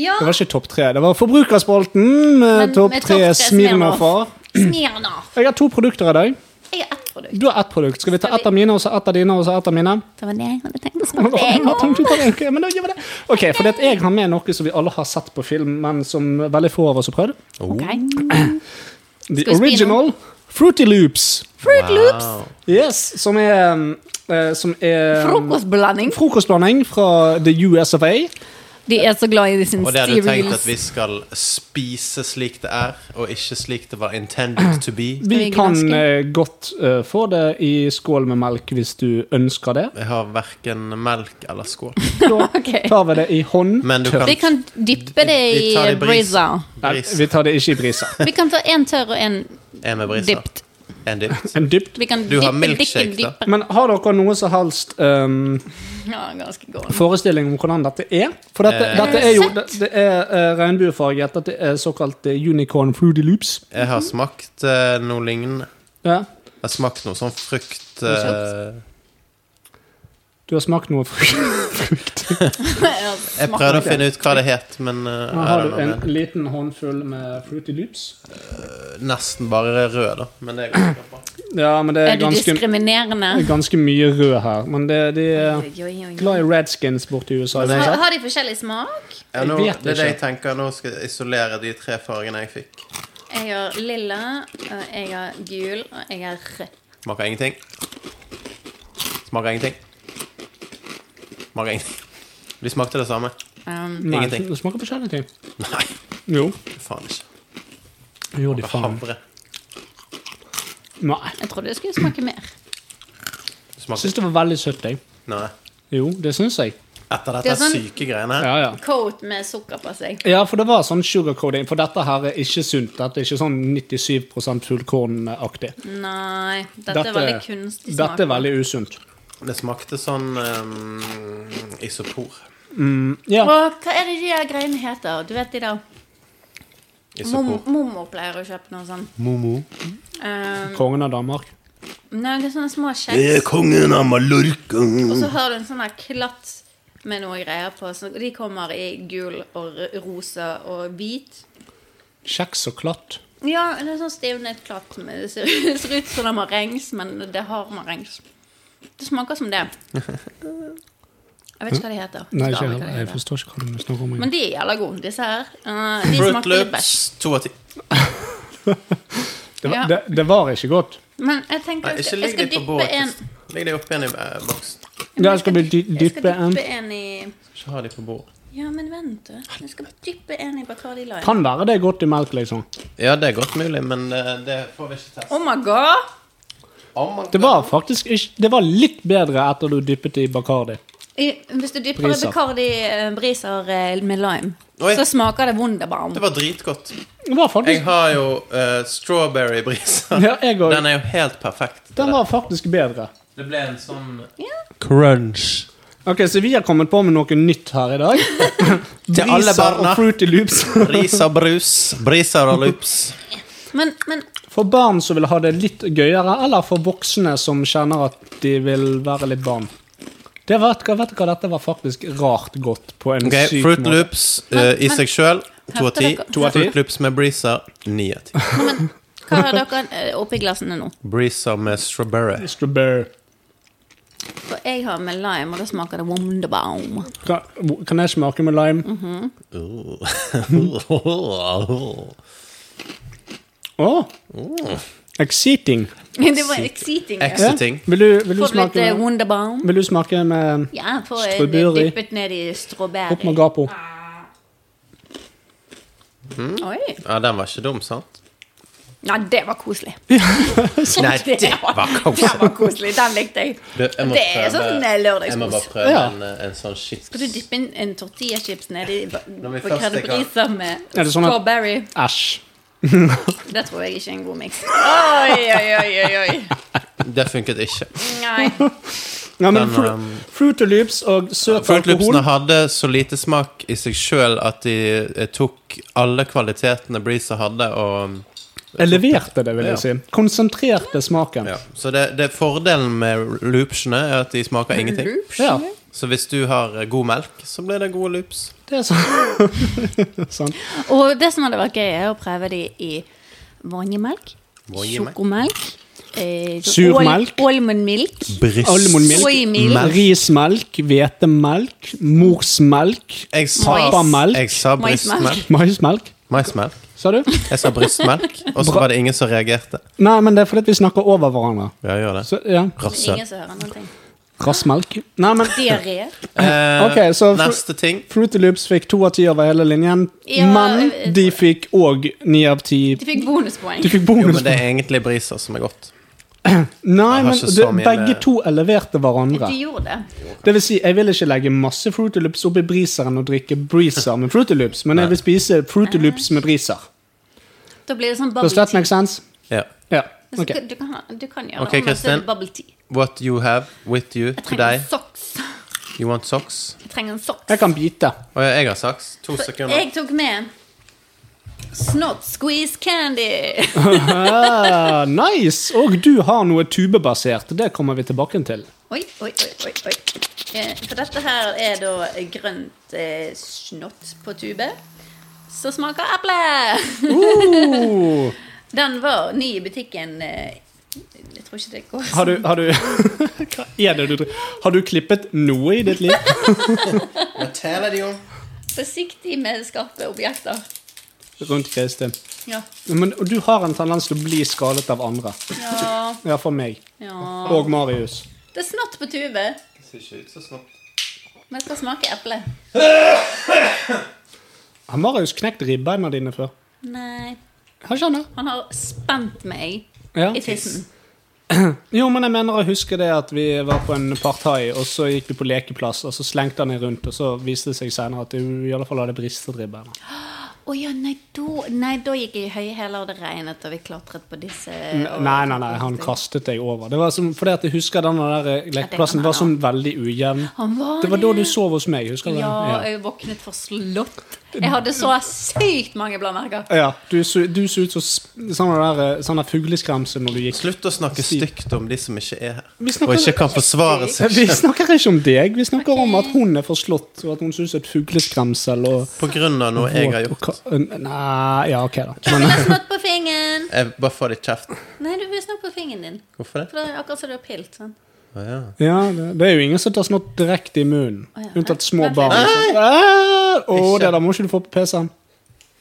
Speaker 6: Ja,
Speaker 7: Det var ikke topp tre, det var Forbrukerspalten. med
Speaker 6: med
Speaker 7: Topp
Speaker 6: topp
Speaker 7: tre
Speaker 6: tre
Speaker 7: Smirnoffer.
Speaker 6: Smirnoff.
Speaker 7: Jeg har to produkter i dag.
Speaker 6: Jeg er ett produkt.
Speaker 7: Du har ett produkt. Ska vi ta
Speaker 6: Ska vi-
Speaker 7: ett av mina, och så ett av dina, och så ett av mine?
Speaker 6: Det var det jeg hadde tenkt å
Speaker 7: Hva
Speaker 6: spørre deg
Speaker 7: hva
Speaker 6: om.
Speaker 7: tenkte du på det? Ok, men da gjør vi det. Ok, for det at jeg har med noe som vi alle har sett på film, men som veldig få av oss har prøvd.
Speaker 6: Ok.
Speaker 7: The
Speaker 6: Skal vi spille?
Speaker 7: original Fruity Loops.
Speaker 6: Fruit Loops.
Speaker 7: Yes, som er, eh, som er
Speaker 6: Frokostblanding.
Speaker 7: Frokostblanding fra The US of A.
Speaker 6: De er så glad i sin
Speaker 5: Og det hadde du tenkt at
Speaker 6: cereals.
Speaker 5: vi skal spise slik det er, og ikke slik det var intended to be.
Speaker 7: Vi
Speaker 6: vi
Speaker 7: kan
Speaker 6: granske?
Speaker 7: eh, godt eh, få det i skål med melk hvis du ønsker det.
Speaker 5: Jeg har verken melk eller skål.
Speaker 7: Da
Speaker 6: Ok.
Speaker 7: tar vi det i hånd.
Speaker 5: Men du kan
Speaker 6: Vi kan dyppe det
Speaker 5: Vi- vi tar
Speaker 6: i
Speaker 5: det i bris.
Speaker 6: brisa.
Speaker 7: Nei,
Speaker 5: bris.
Speaker 7: vi tar det ikke i brisa.
Speaker 6: Vi kan ta en tørr og en
Speaker 5: En med brisa.
Speaker 6: dypt.
Speaker 5: En dypt.
Speaker 7: En dypt.
Speaker 6: Vi kan
Speaker 5: Du har
Speaker 6: dyppe,
Speaker 5: milkshake,
Speaker 6: dyppe,
Speaker 5: da.
Speaker 6: dyppe.
Speaker 7: Men har dere noe som helst ehm,
Speaker 6: Ja, ganske god.
Speaker 7: forestilling om hvordan dette er? For dette,
Speaker 5: Eh.
Speaker 7: dette er jo det,
Speaker 6: Sett.
Speaker 7: det er eh, regnbuefarget. Dette er såkalt eh, unicorn fruity loops.
Speaker 5: Jeg har smakt eh, noe lignende.
Speaker 7: Ja.
Speaker 5: Jeg har smakt noe sånn frukt eh,
Speaker 7: Du har smakt noe frukt.
Speaker 5: Jeg prøvde å finne ut hva det het, men eh,
Speaker 7: Her
Speaker 5: I
Speaker 7: har
Speaker 5: don't
Speaker 7: du
Speaker 5: know,
Speaker 7: en
Speaker 5: men-
Speaker 7: liten håndfull med fruity loops.
Speaker 5: nesten bare rød, da. Men det går ikke bra.
Speaker 7: Ja, men det
Speaker 6: Er
Speaker 7: er
Speaker 6: du
Speaker 7: ganske,
Speaker 6: diskriminerende?
Speaker 7: ganske mye rød her. Men det, de er
Speaker 6: Oi, oi, oi.
Speaker 7: glad i redskins borti USA.
Speaker 5: Men det-
Speaker 6: Har,
Speaker 7: ikke sant?
Speaker 6: har de forskjellig smak?
Speaker 5: Ja, nå,
Speaker 7: Jeg vet
Speaker 5: det er det jeg
Speaker 7: ikke.
Speaker 5: tenker. Nå skal jeg isolere de tre fargene jeg fikk.
Speaker 6: Jeg har lilla, og jeg har gul, og jeg har rød.
Speaker 5: Smaker ingenting. Smaker ingenting. Smaker ingenting. De smakte det samme.
Speaker 6: Um,
Speaker 7: Nei,
Speaker 5: Ingenting.
Speaker 7: Det smaker forskjellige ting.
Speaker 5: Nei,
Speaker 7: Jo.
Speaker 5: faen ikke.
Speaker 7: Jo, de faen.
Speaker 5: Havre.
Speaker 7: Nei.
Speaker 6: jeg trodde det skulle smake mer.
Speaker 5: Det
Speaker 7: Jeg
Speaker 5: smaker
Speaker 7: syns det var veldig søtt, jeg.
Speaker 5: Nei.
Speaker 7: Jo, det syns jeg.
Speaker 5: Etter
Speaker 6: Det
Speaker 5: dette
Speaker 6: er sånn-
Speaker 5: syke greiene her
Speaker 7: Ja, ja.
Speaker 6: Coat med sukker på seg.
Speaker 7: Ja, for det var sånn sugarcoating. For dette her er ikke sunt. Dette er ikke sånn 97 fullkornaktig.
Speaker 6: Nei, dette, er veldig kunstig smak.
Speaker 7: Dette er veldig usunt.
Speaker 5: Det smakte sånn ehm, isopor.
Speaker 7: Ja.
Speaker 6: Og hva er det de der greiene heter? Du vet de der Mom-
Speaker 5: Isopor.
Speaker 6: Mormor pleier å kjøpe noe sånn. sånt.
Speaker 5: Momo.
Speaker 6: Um,
Speaker 7: Kongen av Danmark.
Speaker 6: nei, det er sånne små kjeks.
Speaker 1: Det er kongen av Mallorca.
Speaker 6: Og så har du en sånn her klatt med noe greier på. Så de kommer i gul og r- rosa og
Speaker 5: eh,
Speaker 6: hvit.
Speaker 7: Kjeks og klatt.
Speaker 6: Ja, det er sånn stivnet klatt. Med, det, ser, det ser ut som det er marengs, men det har marengs. Det smaker som det. Jeg vet ikke hva de heter.
Speaker 7: Nei,
Speaker 6: Husker
Speaker 7: ikke
Speaker 6: aldri hva
Speaker 7: heller.
Speaker 6: de
Speaker 7: Jeg
Speaker 6: heter.
Speaker 7: forstår ikke hva du snakker om.
Speaker 6: Men de er jævla gode, disse her. Eh, de
Speaker 5: Fruit
Speaker 6: smaker litt
Speaker 5: Loops.
Speaker 6: bæsj.
Speaker 5: To av ti.
Speaker 7: Det, var-
Speaker 6: Ja.
Speaker 7: det, det var ikke godt.
Speaker 6: Men jeg tenker
Speaker 5: Nei,
Speaker 6: jeg
Speaker 5: ikke
Speaker 6: skal,
Speaker 5: ligg
Speaker 6: jeg skal
Speaker 5: de på
Speaker 6: dyppe en
Speaker 5: bordet. Ligg de oppi igjen i eh, boksen.
Speaker 7: Ja, skal vi dy-
Speaker 6: Jeg skal
Speaker 7: dyppe en?
Speaker 6: dyppe en i
Speaker 5: Ikke ha de på bordet.
Speaker 6: Ja, men vent, du. Jeg skal dyppe en i Bacardi Lime.
Speaker 7: Kan være det er godt i melk, liksom.
Speaker 5: Ja, det er godt mulig, men eh, det får vi ikke teste.
Speaker 6: Oh my god!
Speaker 5: Oh my
Speaker 7: Det var faktisk ikke Det var litt bedre etter du dyppet i Bacardi.
Speaker 6: I, hvis du dypper
Speaker 7: Briser.
Speaker 6: Bacardi eh, briser eh, med lime,
Speaker 5: Oi.
Speaker 6: så smaker det wunderbarm.
Speaker 5: Det var dritgodt.
Speaker 7: Det var
Speaker 5: Jeg
Speaker 7: faktisk
Speaker 5: har jo eh, strawberry brisa.
Speaker 7: Ja, jeg òg.
Speaker 5: Den er jo helt perfekt. til
Speaker 7: Den
Speaker 5: det.
Speaker 7: var faktisk bedre.
Speaker 5: Det ble en sånn
Speaker 7: Crunch. Ok, så vi har kommet på med noe nytt her i dag.
Speaker 5: Til alle
Speaker 7: Briser
Speaker 5: barna.
Speaker 7: og Fruity Loops.
Speaker 5: brisa brus. Brisa og loops.
Speaker 6: Men, men
Speaker 7: For barn som vil ha det litt gøyere, eller for voksne som kjenner at de vil være litt barn. Det var, vet du hva, dette var faktisk rart godt på en
Speaker 5: Ok,
Speaker 7: syk
Speaker 5: Fruit
Speaker 7: måte.
Speaker 5: loops eh, i
Speaker 6: Men-
Speaker 5: seg sjøl. To av ti.
Speaker 6: Hørte dere-
Speaker 7: To av ti.
Speaker 5: Fruit loops med brisa. Ni av ti.
Speaker 6: hva har dere eh, oppi glassene nå?
Speaker 5: Brisa med strawberry.
Speaker 7: Strawberry.
Speaker 6: For jeg har med lime, og da smaker det wunderbarm.
Speaker 7: Kan, kan jeg smake med lime?
Speaker 6: Mm.
Speaker 7: Å,
Speaker 5: Mm.
Speaker 7: Exciting.
Speaker 6: Det var exciting. ja.
Speaker 5: Exiting.
Speaker 7: Vil du, vil du
Speaker 6: Får du litt
Speaker 7: smake
Speaker 6: eh,
Speaker 7: med,
Speaker 6: wunderbarm?
Speaker 7: vil du smake med
Speaker 6: Ja, får jeg
Speaker 7: Strawberry.
Speaker 6: dyppet ned i
Speaker 7: Opp med
Speaker 6: strawberry.
Speaker 7: gapo.
Speaker 6: Oi.
Speaker 5: Ja, den var ikke dum, sant?
Speaker 6: Nei, det var koselig.
Speaker 5: Nei, det var
Speaker 6: Det
Speaker 5: kos.
Speaker 6: var koselig. Den likte jeg.
Speaker 5: Du, jeg må
Speaker 6: Det
Speaker 5: prøve-
Speaker 6: er sånn, eh, lørdagskos.
Speaker 5: Jeg må bare prøve
Speaker 7: Ja.
Speaker 5: en, eh, en sånn chips.
Speaker 6: Skal du dyppe inn en tortillachips nedi
Speaker 5: vi først
Speaker 6: Bacardi
Speaker 5: stikker-
Speaker 6: Brisa med
Speaker 7: Er det sånn at-
Speaker 6: strawberry?
Speaker 7: Æsj.
Speaker 6: Det tror jeg ikke er en god miks. Oi, oi, oi, oi, oi.
Speaker 5: Det funket ikke.
Speaker 6: Nei.
Speaker 7: Ja, men
Speaker 5: Den,
Speaker 7: fru,
Speaker 5: um,
Speaker 7: Fruity Loops og søt
Speaker 5: Fruit
Speaker 7: alkohol
Speaker 5: Loopsene hadde så lite smak i seg sjøl at de eh, tok alle kvalitetene Breezer hadde, og um,
Speaker 7: eleverte det, vil
Speaker 5: Ja.
Speaker 7: jeg si. Konsentrerte smaken.
Speaker 5: ja. Så det, det fordelen med loopsene er at de smaker ingenting.
Speaker 7: Ja,
Speaker 5: Så hvis du har eh, god melk, så blir det gode loops.
Speaker 7: det er sånn. sånn.
Speaker 6: Og det som hadde vært gøy, er å prøve de i vaniljemelk,
Speaker 5: Vaniljemelk.
Speaker 6: sjokomelk, eh,
Speaker 7: Surmelk.
Speaker 6: al- Almond milk.
Speaker 5: Brist.
Speaker 7: Almondmilk.
Speaker 6: Soyamilk.
Speaker 7: Rismelk, hvetemelk, morsmelk,
Speaker 5: Jeg sa,
Speaker 7: pappamelk,
Speaker 5: jeg sa bristmelk.
Speaker 6: Maismelk.
Speaker 7: maismelk.
Speaker 5: Maismelk.
Speaker 7: Sa du?
Speaker 5: Jeg sa brystmelk, og så var det ingen som reagerte.
Speaker 7: Nei, men det er fordi at vi snakker over hverandre.
Speaker 5: Ja, gjør det.
Speaker 7: Så, ja.
Speaker 5: Rasshøl.
Speaker 6: Ingen som hører noen ting.
Speaker 7: Rassmelk. Nei, men
Speaker 6: Diaré.
Speaker 5: Eh,
Speaker 7: Ok, så fr-
Speaker 5: neste ting.
Speaker 7: Fruity Loops fikk to av ti over hele linjen,
Speaker 6: Ja,
Speaker 7: men
Speaker 6: eh,
Speaker 7: de fikk òg ni av ti.
Speaker 6: De fikk bonuspoeng.
Speaker 7: De fikk
Speaker 5: Jo,
Speaker 7: bonus.
Speaker 5: men det er egentlig briser som er godt.
Speaker 7: Nei,
Speaker 5: Jeg har
Speaker 7: men
Speaker 5: ikke så
Speaker 7: det,
Speaker 5: mye-
Speaker 7: begge to eleverte hverandre.
Speaker 6: De gjorde det.
Speaker 7: Det vil si, jeg vil ikke legge masse Fruity Loops oppi breezeren og drikke breezer med Fruity Loops, men jeg vil spise Fruity Loops med breezer.
Speaker 6: Da blir det sånn
Speaker 7: Does
Speaker 6: bubble
Speaker 7: that
Speaker 6: tea.
Speaker 7: make sense?
Speaker 5: Ja.
Speaker 7: Ja.
Speaker 6: Altså,
Speaker 7: ok.
Speaker 6: du, kan, du kan gjøre
Speaker 5: Ok,
Speaker 6: det om, og så er
Speaker 5: Kristin.
Speaker 6: det bubble tea.
Speaker 5: What you have with you
Speaker 6: Jeg
Speaker 5: today.
Speaker 6: trenger en socks.
Speaker 5: You want socks?
Speaker 6: Jeg trenger en socks.
Speaker 7: Jeg kan bite.
Speaker 5: Å ja, jeg har socks. To
Speaker 6: For
Speaker 5: sekunder.
Speaker 6: Jeg tok med Snot squeeze candy.
Speaker 7: Ah, nice! Og du har noe tubebasert. Det kommer vi tilbake til.
Speaker 6: Oi, oi, oi, oi, oi. Eh, For dette her er da grønt eh, snott på tube. Som smaker eple!
Speaker 7: Uh,
Speaker 6: Den var ny i butikken. eh, Jeg tror ikke det går.
Speaker 7: har du, har du Hva er det du driver Har du klippet noe i ditt liv?
Speaker 6: Forsiktig med skarpe objekter.
Speaker 7: Rundt Kristin.
Speaker 6: Ja.
Speaker 7: Men du har en tendens til å bli skadet av andre.
Speaker 6: ja,
Speaker 7: Ja, for meg.
Speaker 6: ja.
Speaker 7: Og Marius.
Speaker 6: Det er snott på tube, men det skal smake eple.
Speaker 7: Har Marius knekt ribbeina dine før?
Speaker 6: Nei,
Speaker 7: Har ikke han det?
Speaker 6: han har spent meg
Speaker 7: Ja.
Speaker 6: i tissen.
Speaker 7: Jo, men jeg mener jeg husker det at vi var på en partai, og så gikk vi på lekeplass, og så slengte han meg rundt, og så viste det seg senere at du i alle fall hadde bristet ribbeina.
Speaker 6: Å ja, nei da, nei, da gikk jeg i høye hæler, og det regnet, og vi klatret på disse og-
Speaker 7: Nei, nei, nei, han kastet deg over. Det var som, fordi at jeg husker den der eh, lekeplassen var sånn veldig ujevn.
Speaker 6: Han var
Speaker 7: Det var da du sov hos meg, husker du det?
Speaker 6: Ja, jeg våknet forslått. Jeg hadde så sykt mange blåmerker.
Speaker 7: Ja, du, så- du så ut som sp- sånn der, eh, sånn der fugleskremsel når du gikk.
Speaker 5: Slutt å snakke
Speaker 7: Stiv.
Speaker 5: stygt om de som ikke er her,
Speaker 7: Vi snakker-
Speaker 5: og ikke kan forsvare seg
Speaker 7: Vi
Speaker 5: selv
Speaker 7: snakker ikke om deg, vi snakker om at hun er forslått, og at hun synes et fugleskremsel og...
Speaker 5: på grunn av noe jeg har
Speaker 7: og
Speaker 5: gjort.
Speaker 7: ka- Nei, ja, ok da. Men,
Speaker 6: Jeg har snott på fingeren!
Speaker 5: Jeg bare får det i kjeften.
Speaker 6: Nei, du har snott på fingeren din.
Speaker 5: Hvorfor det?
Speaker 6: For det er akkurat som du har pilt. sånn.
Speaker 7: Ja, det, det er jo ingen som tar snott direkte i munnen.
Speaker 6: Å ja.
Speaker 7: Unntatt små
Speaker 6: Vent
Speaker 7: barn.
Speaker 6: litt.
Speaker 7: Å,
Speaker 5: Ikke.
Speaker 7: det der må ikke du få på PC-en.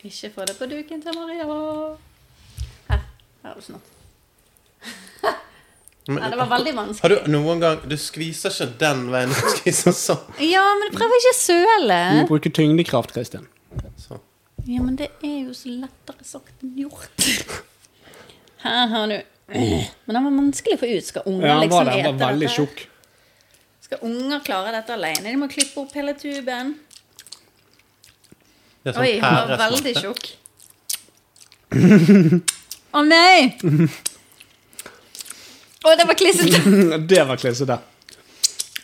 Speaker 6: Ikke få det på duken til Maria. Her. Her har du snott. Nei, det var veldig
Speaker 5: Har
Speaker 6: vanskelig.
Speaker 5: du noen gang Du skviser ikke den veien, du skviser sånn.
Speaker 6: Ja, men prøv ikke å
Speaker 7: Du
Speaker 6: søle.
Speaker 7: må bruke tyngdekraft, Kristin.
Speaker 5: sånn.
Speaker 6: Ja, men det er jo så lettere sagt enn gjort. Her har du Men den var vanskelig å få ut. Skal unger
Speaker 7: Ja, han var
Speaker 6: liksom
Speaker 7: det.
Speaker 6: ete
Speaker 7: Han var veldig
Speaker 6: dette?
Speaker 7: tjukk.
Speaker 6: Skal unger klare dette alene? De må klippe opp hele tuben.
Speaker 5: Det er sånn
Speaker 6: Oi, han var
Speaker 5: pæresmak.
Speaker 6: veldig tjukk. Å nei! Å, det var klissete.
Speaker 7: Det var klissete.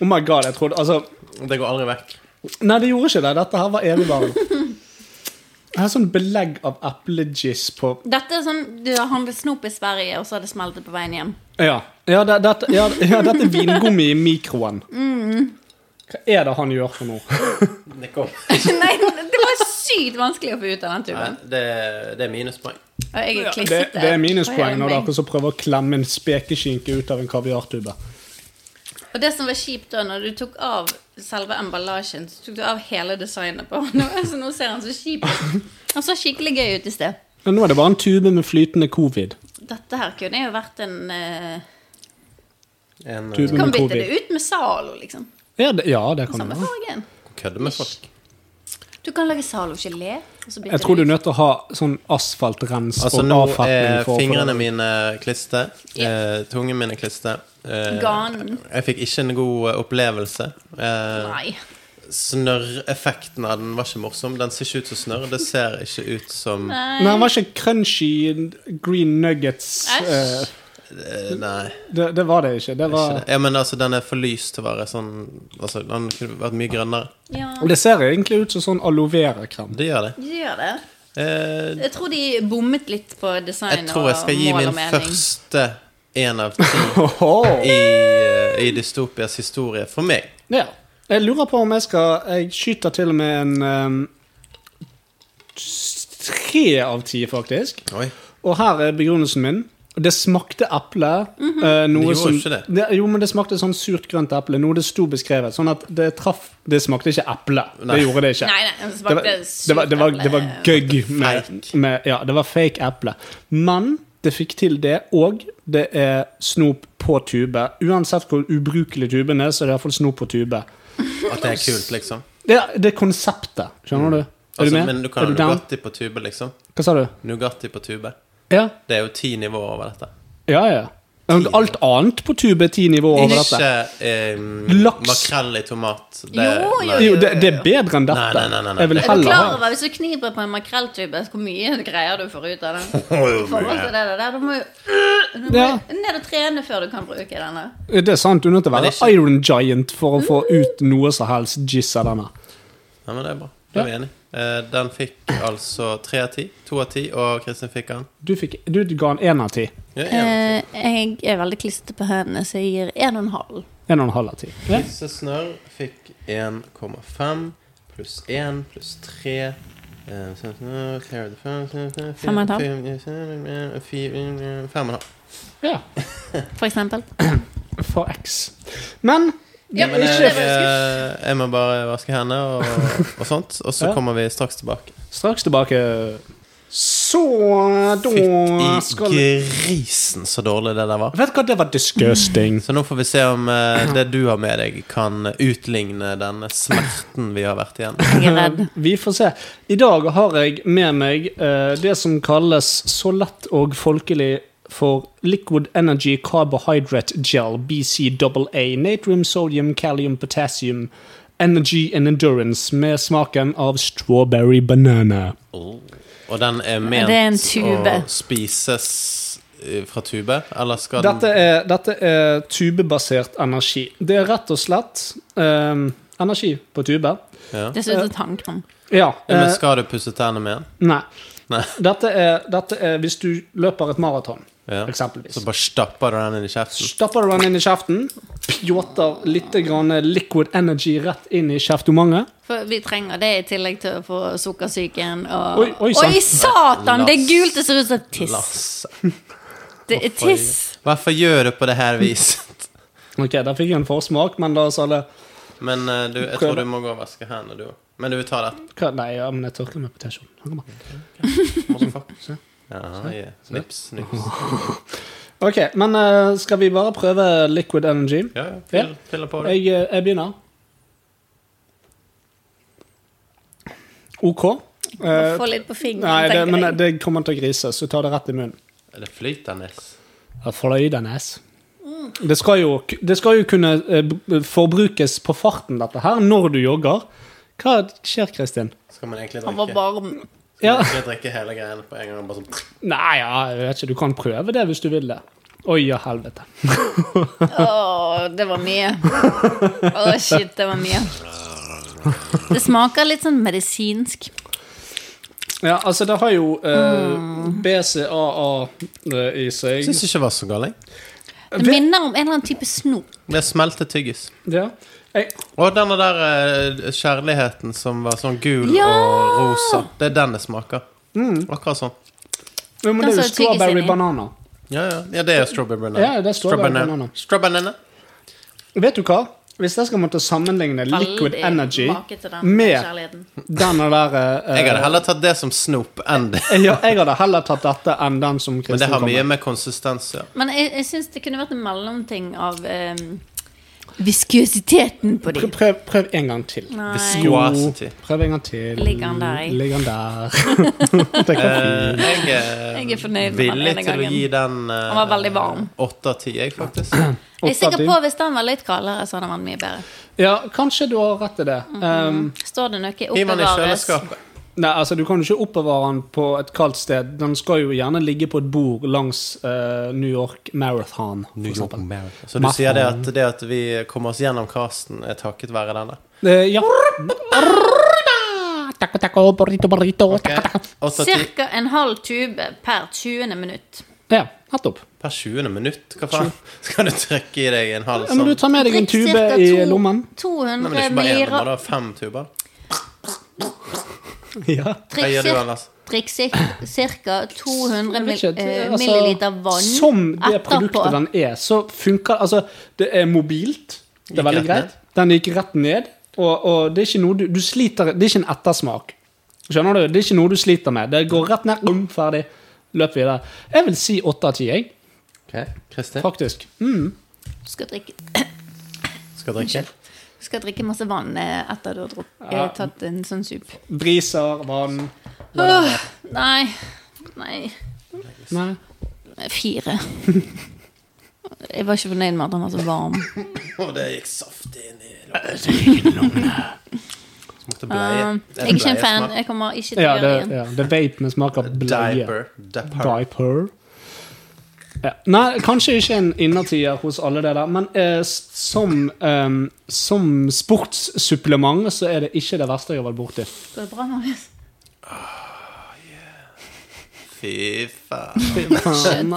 Speaker 7: Oh my god, jeg trodde Altså,
Speaker 5: Det går aldri vekk.
Speaker 7: nei, det gjorde ikke det. Dette her var evigvarende. Jeg har sånn belegg av eplejizz på
Speaker 6: Dette er sånn du har handlet snop i Sverige, og så har det smeltet på veien hjem.
Speaker 7: Ja, ja, det, dette, ja, ja dette er vingummi i mikroen. Hva er det han gjør for noe?
Speaker 5: Det, kom.
Speaker 6: Nei, det var sykt vanskelig å få ut av den
Speaker 5: Nei,
Speaker 6: tuben.
Speaker 5: det, det er minuspoeng.
Speaker 6: Og jeg er
Speaker 7: Det,
Speaker 6: klissete.
Speaker 7: det er minuspoeng
Speaker 6: Og
Speaker 7: når det er
Speaker 6: jeg-
Speaker 7: akkurat som prøver å klemme en spekeskinke ut av en kaviartube.
Speaker 6: Og det som var kjipt da, når du tok av selve emballasjen, så tok du av hele designet på han. Så nå ser han så kjip ut. Han så skikkelig gøy ut i sted.
Speaker 7: Men nå er det bare en tube med flytende covid.
Speaker 6: Dette her kunne jo vært en eh,
Speaker 5: En,
Speaker 7: Tusen.
Speaker 5: eh,
Speaker 6: Kan
Speaker 7: Men covid.
Speaker 6: bytte det ut med Zalo, liksom.
Speaker 7: Ja, det, ja, det kan du
Speaker 6: Samme
Speaker 7: gjøre.
Speaker 6: fargen.
Speaker 5: kødde med folk.
Speaker 6: Du kan lage Zalo-gelé. og så bytte
Speaker 7: Jeg tror du
Speaker 6: det
Speaker 7: er
Speaker 6: ut.
Speaker 7: nødt til å ha sånn asfaltrens
Speaker 5: Altså, nå
Speaker 7: og avfatning
Speaker 5: er
Speaker 7: for
Speaker 5: fingrene mine kliste. Eh, tungen min er kliste. Eh,
Speaker 6: Ganen.
Speaker 5: jeg fikk ikke en god eh, opplevelse. Eh,
Speaker 6: Nei.
Speaker 5: Snørreffekten av den var ikke morsom. Den ser ikke ut som snørr. Det ser ikke ut som Nei.
Speaker 7: Men han var ikke crunchy green nuggets.
Speaker 6: Æsj.
Speaker 7: eh, Det, det var det ikke. Det,
Speaker 5: ikke
Speaker 7: var,
Speaker 5: det. Ja, men altså, den er for lys til å være sånn altså, Den kunne vært mye grønnere.
Speaker 6: Ja,
Speaker 7: Og det ser egentlig ut som sånn aloe vera-krem.
Speaker 5: Det gjør det.
Speaker 6: de gjør det.
Speaker 5: Eh,
Speaker 6: Jeg tror de bommet litt på design
Speaker 5: jeg tror jeg skal gi
Speaker 6: og mål
Speaker 5: min
Speaker 6: og mening.
Speaker 5: første én av ti
Speaker 7: Oho.
Speaker 5: i, eh, i dystopias historie for meg.
Speaker 7: Ja. Jeg lurer på om jeg skal Jeg skyter til og med en ehm, tre av ti, faktisk.
Speaker 5: Oi.
Speaker 7: Og her er begrunnelsen min. Det smakte eple.
Speaker 6: Mhm.
Speaker 7: eh, noe
Speaker 5: Det gjorde
Speaker 7: som,
Speaker 5: ikke det.
Speaker 7: Jo, men det smakte sånn surt grønt eple. Noe det sto beskrevet. Sånn at det traff Det smakte ikke eple.
Speaker 5: Nei.
Speaker 7: Det gjorde det ikke.
Speaker 6: Nei, nei, det
Speaker 7: det, var,
Speaker 6: smakte
Speaker 7: det, var, det, var, det var gøgg med,
Speaker 5: Fake.
Speaker 7: med Ja, det var fake eple. Men det fikk til det, og det er snop på tube. Uansett hvor ubrukelig tuben er, så er det iallfall snop på tube.
Speaker 5: At det er kult, liksom.
Speaker 7: Det er, det er konseptet, skjønner du? Er
Speaker 5: Altså,
Speaker 7: du med?
Speaker 5: men du kan
Speaker 7: er
Speaker 5: ha
Speaker 7: du down?
Speaker 5: Nugatti på tube, liksom.
Speaker 7: Hva sa du?
Speaker 5: Nugatti på tube.
Speaker 7: Ja,
Speaker 5: Det er jo ti nivåer over dette.
Speaker 7: ja. ja. Men Alt annet på tube er ti nivåer over dette.
Speaker 5: Ikke em,
Speaker 7: Laks.
Speaker 5: makrell i tomat. Det,
Speaker 6: Jo, jo,
Speaker 5: nei.
Speaker 7: Jo, det, det er bedre enn dette.
Speaker 5: Nei, nei, nei, nei, nei.
Speaker 7: Jeg vil
Speaker 6: Er du
Speaker 7: heller ha
Speaker 6: klar over hvis du kniper på en makrelltube, hvor mye greier du får ut av den?
Speaker 1: Oh,
Speaker 6: Forhold til det der, Du må jo du må
Speaker 7: Ja.
Speaker 6: ned og trene før du kan bruke denne.
Speaker 7: Det er sant. Du er nødt til å
Speaker 5: Men
Speaker 7: være
Speaker 5: det er ikke-
Speaker 7: Iron Giant for å få ut noe som helst jizz av denne.
Speaker 5: Nei, men det er bra. Da er vi enige. Eh, Den fikk altså tre av ti. To av ti, og Kristin fikk den.
Speaker 7: Du, fikk, du ga en én av ti.
Speaker 5: Ja, en.
Speaker 6: Eh. jeg er veldig klissete på hendene, så jeg gir en og en halv.
Speaker 7: En og en halv av ti. Ja.
Speaker 5: Lysesnørr fikk 1,5 pluss 1 pluss eh, 3 Fem
Speaker 6: og en halv.
Speaker 5: Fem og en halv.
Speaker 7: ja.
Speaker 6: For eksempel.
Speaker 7: For X. Men
Speaker 6: Ja,
Speaker 5: Men
Speaker 6: ikke-
Speaker 5: jeg, eh, jeg må bare vaske hendene og, og sånt, og så
Speaker 7: Ja.
Speaker 5: kommer vi straks tilbake.
Speaker 7: straks tilbake. Så da
Speaker 5: Fytt
Speaker 7: skal
Speaker 5: i grisen så dårlig det der var.
Speaker 7: Vet du hva, det var disgusting.
Speaker 5: Så nå får vi se om eh, det du har med deg, kan utligne denne smerten vi har vært igjennom.
Speaker 6: Jeg er redd.
Speaker 7: Vi får se. I dag har jeg med meg eh, det som kalles så lett og folkelig for Liquid Energy Carbohydrate Gel, BCAA, natrium, sodium, kalium, potassium, energy and endurance, med smaken av strawberry banana.
Speaker 5: Og den er ment
Speaker 6: Det er en tube.
Speaker 5: å spises eh, fra tube, eller skal den
Speaker 7: Dette er, dette er tubebasert energi. Det er rett og slett eh, energi på tube.
Speaker 5: ja.
Speaker 6: Det ser ut som tannkrem.
Speaker 7: Ja.
Speaker 5: Ja, men
Speaker 7: eh,
Speaker 5: skal du pusse tennene med den?
Speaker 7: nei.
Speaker 5: Nei.
Speaker 7: Dette er, dette er hvis du løper et maraton,
Speaker 5: Ja.
Speaker 7: eksempelvis.
Speaker 5: Så bare stapper du den inn i kjeften?
Speaker 7: Stapper du den inn i kjeften, pjåter litt grann liquid energy rett inn i kjeftomanget.
Speaker 6: For vi trenger det i tillegg til å få sukkersyken og
Speaker 7: Oi, oi, sant.
Speaker 6: satan! Det er
Speaker 5: Lass.
Speaker 6: gult, det ser ut som tiss.
Speaker 5: Lasse.
Speaker 6: Det er tiss.
Speaker 5: Hvorfor gjør du på det her viset?
Speaker 7: Ok, der fikk jeg en forsmak, men la oss alle
Speaker 5: Men eh, du, jeg tror du må gå og vaske hendene, du òg. Men du tar det.
Speaker 7: Hva? Nei, ja, men jeg tørker meg på T-skjorten. Han kommer.
Speaker 5: Motherfucker. Ja, yeah. Nips, nips.
Speaker 7: Ok, men eh, skal vi bare prøve liquid energy?
Speaker 5: Ja, ja. Fill, fill på det.
Speaker 7: Jeg, eh, jeg begynner. OK. Eh,
Speaker 6: Få litt på fingeren,
Speaker 7: nei, det, men
Speaker 6: tenker jeg.
Speaker 7: det kommer til å grise, så ta det rett i munnen.
Speaker 5: Er det flytende?
Speaker 7: Ja, Fløydende. Det skal, jo, det skal jo kunne eh, b- forbrukes på farten, dette her, når du jogger. Hva skjer, Kristin?
Speaker 5: Skal man egentlig
Speaker 6: Han var
Speaker 5: drikke?
Speaker 6: varm.
Speaker 7: Ja.
Speaker 5: Skal man drikke hele greiene på en gang? Bare sånn
Speaker 7: Nei, ja, jeg vet ikke. Du kan prøve det hvis du vil det. Oi, ja, helvete.
Speaker 6: Åh, det var mye. Åh, shit, det var mye. Det smaker litt sånn medisinsk.
Speaker 7: Ja, altså, det har jo eh, BCAA eh, i seg.
Speaker 5: Syns ikke det var så galt.
Speaker 6: Det minner om en eller annen type snop.
Speaker 5: Det smelter tyggis.
Speaker 7: Ja. Jeg,
Speaker 5: Og denne der eh, kjærligheten som var sånn gul
Speaker 6: Ja! Mm.
Speaker 5: og rosa. Det er den det smaker. Akkurat sånn.
Speaker 7: jo, men det er jo
Speaker 6: Den som det tygges
Speaker 7: strawberry
Speaker 6: inn i.
Speaker 7: banana.
Speaker 5: Ja, ja. ja, det er strawberry banana.
Speaker 7: Ja, det er strawberry
Speaker 5: Strawbanana.
Speaker 7: banana.
Speaker 5: Strawbanana.
Speaker 7: Vet du hva? Hvis jeg skal måtte sammenligne liquid
Speaker 6: Veldig
Speaker 7: energy
Speaker 6: make til den
Speaker 7: med
Speaker 6: kjærligheten.
Speaker 7: denne der eh,
Speaker 5: Jeg hadde heller tatt det som snop enn det.
Speaker 7: ja, jeg hadde heller tatt dette enn den som Kristin
Speaker 5: Men det har
Speaker 7: kom med.
Speaker 5: mye med konsistens å gjøre.
Speaker 6: Men jeg, jeg syns det kunne vært en mellomting av um, viskuositeten på
Speaker 7: Prøv,
Speaker 6: dem.
Speaker 7: prøv, prøv en gang til.
Speaker 6: Nei.
Speaker 5: Viscosity.
Speaker 7: Prøv en gang til.
Speaker 6: Ligger han der, jeg?
Speaker 7: Ligger han der. det går fint.
Speaker 5: Eh, Jeg er,
Speaker 6: Jeg er fornøyd med den
Speaker 5: villig
Speaker 6: ene
Speaker 5: til å
Speaker 6: gangen.
Speaker 5: gi den eh,
Speaker 6: Han var veldig varm.
Speaker 5: Åtte av ti, jeg, faktisk.
Speaker 6: Jeg er
Speaker 7: Åtte av
Speaker 6: sikker
Speaker 7: ti.
Speaker 6: på hvis den var litt kaldere, så hadde den vært mye bedre.
Speaker 7: Ja, kanskje du har rett i det.
Speaker 6: Mhm.
Speaker 7: Um,
Speaker 6: Står det noe
Speaker 5: Hiv den i
Speaker 6: oppbevares
Speaker 5: kjøleskapet.
Speaker 7: nei, altså Du kan jo ikke oppbevare den på et kaldt sted. Den skal jo gjerne ligge på et bord langs eh, New York Marathon. for eksempel.
Speaker 5: Så du sier det at, det at vi kommer oss gjennom casten, er takket være denne?
Speaker 7: Eh, ja. Taco, taco, burrito, burrito,
Speaker 5: Ok.
Speaker 7: taco, taco.
Speaker 5: Åtte av ti
Speaker 6: Cirka en halv tube per 20. minutt.
Speaker 7: Ja, nettopp.
Speaker 5: per 20. minutt? Hva faen? Skal du trykke i deg en halv
Speaker 7: Ja, men
Speaker 5: sånn?
Speaker 7: du tar med deg en
Speaker 6: Drikk
Speaker 7: tube
Speaker 6: cirka
Speaker 7: i
Speaker 6: to-
Speaker 7: lommen.
Speaker 5: Nei,
Speaker 6: 200
Speaker 5: men det er ikke bare én, men
Speaker 6: milligram
Speaker 5: da fem tuber.
Speaker 7: Ja.
Speaker 5: Hva
Speaker 6: Drikk
Speaker 5: gjør du,
Speaker 6: cir-
Speaker 5: Anders?
Speaker 6: drikk ca. 200
Speaker 7: Jeg
Speaker 6: mil,
Speaker 7: vet ikke, det-
Speaker 6: eh,
Speaker 7: altså,
Speaker 6: milliliter vann
Speaker 7: Som det produktet
Speaker 6: etterpå.
Speaker 7: den er, så funker Altså, det er mobilt. Det er
Speaker 5: Gikk
Speaker 7: veldig
Speaker 5: rett
Speaker 7: greit.
Speaker 5: ned.
Speaker 7: Den gikk rett ned, og, og det er ikke noe du, du sliter Det er ikke en ettersmak. Skjønner du? Det er ikke noe du sliter med. Det går rett ned, um, ferdig. Løp videre. Jeg vil si åtte av ti, jeg.
Speaker 5: Ok, Kristin
Speaker 7: Faktisk. Mm.
Speaker 6: Du skal drikke,
Speaker 5: skal drikke.
Speaker 6: du skal drikke masse vann eh, etter du har drukket,
Speaker 7: Ja.
Speaker 6: eh, tatt en sånn sup.
Speaker 7: Briser, vann
Speaker 6: Åh, nei. Nei.
Speaker 7: Nei.
Speaker 6: Fire. Jeg var ikke fornøyd med at han var så varm.
Speaker 5: Å, det gikk saftig inn i lungene. Smakte bleie.
Speaker 6: Um,
Speaker 5: Det
Speaker 6: jeg
Speaker 5: er
Speaker 6: er ikke en fan.
Speaker 5: bleiesmak.
Speaker 6: Jeg kommer ikke til å
Speaker 7: Ja,
Speaker 6: gjøre
Speaker 7: det,
Speaker 6: det igjen.
Speaker 7: ja, det er vape med smak av bleie.
Speaker 5: Diaper. Diaper.
Speaker 7: Diaper. Ja. Nei, kanskje ikke en innertier hos alle det der, men eh, s- som, eh, som sportssupplement så er det ikke det verste jeg har vært borti.
Speaker 6: Går det bra, Marius?
Speaker 5: Fy faen.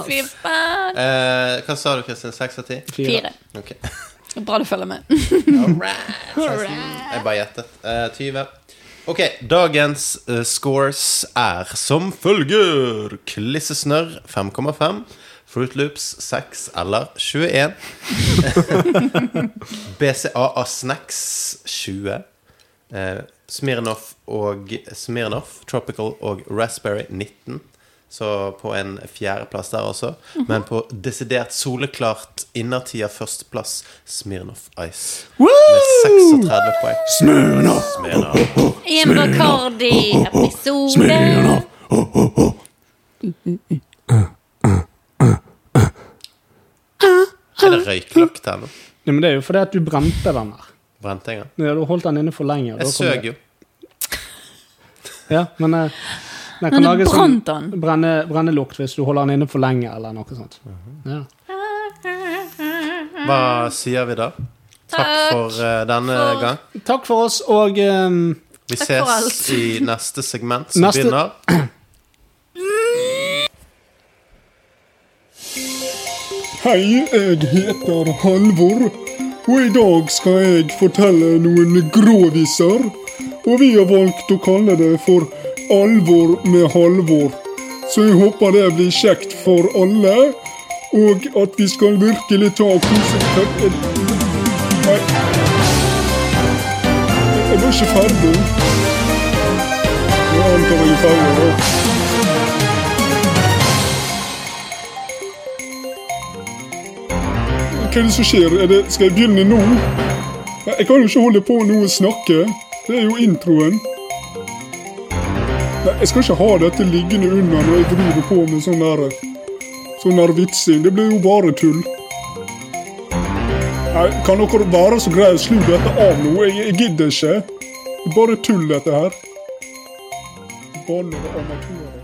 Speaker 6: Fy faen.
Speaker 5: Eh, hva sa du, Kristin? Seks av ti?
Speaker 6: Fire.
Speaker 5: Ok.
Speaker 6: Bra du følger med.
Speaker 5: Jeg bare gjettet. Eh, 20. Ok, dagens eh, scores er som følger Klissesnørr 5,5. Fruit Loops 6 eller 21. BCA av Snacks 20. Eh, Smirnoff og Smirnoff, Tropical og Raspberry 19. Så på en fjerdeplass der også. Men på desidert soleklart innertida førsteplass Smirnoff Ice. Med 36 poeng. Smirnoff!
Speaker 6: I en Bacardi-episode.
Speaker 5: Er det røyklokk der nå?
Speaker 7: Ja, men det er jo fordi at du brente den der.
Speaker 5: Brente jeg den?
Speaker 7: Ja, du holdt den inne for lenge. og da
Speaker 5: Jeg
Speaker 7: kom det-
Speaker 5: søg jo.
Speaker 7: Ja, men eh, den
Speaker 6: Men
Speaker 7: kan
Speaker 6: du
Speaker 7: lage sånn
Speaker 6: brant den.
Speaker 7: brenne, brenne hvis du holder den inne for lenge eller noe sånt.
Speaker 5: Mhm.
Speaker 7: Ja.
Speaker 5: Hva sier vi da? Takk for eh, denne
Speaker 6: Mm. for-
Speaker 5: gang.
Speaker 7: Takk for oss, og eh,
Speaker 5: Vi
Speaker 6: Takk for
Speaker 5: ses
Speaker 6: alt.
Speaker 5: i neste segment, som
Speaker 7: Neste-
Speaker 5: begynner
Speaker 8: Hei, jeg heter Halvor, og i dag skal jeg fortelle noen gråviser. Og vi har valgt å kalle det for Alvor med Halvor. Så jeg håper det blir kjekt for alle, og at vi skal virkelig ta og kose oss. Nei. Jeg var ikke ferdig. Jeg antar jeg er ferdig. da. Hva er det som skjer? Er det, skal jeg begynne nå? Jeg kan jo ikke holde på nå og snakke. Det er jo introen. Nei, jeg skal ikke ha dette liggende under når jeg driver på med sånn der Sånn der vitsing. Det blir jo bare tull. Nei, kan dere være så greie å slu dette av nå? Jeg, jeg gidder ikke. Det er Bare tull, dette her. Bannede amatører.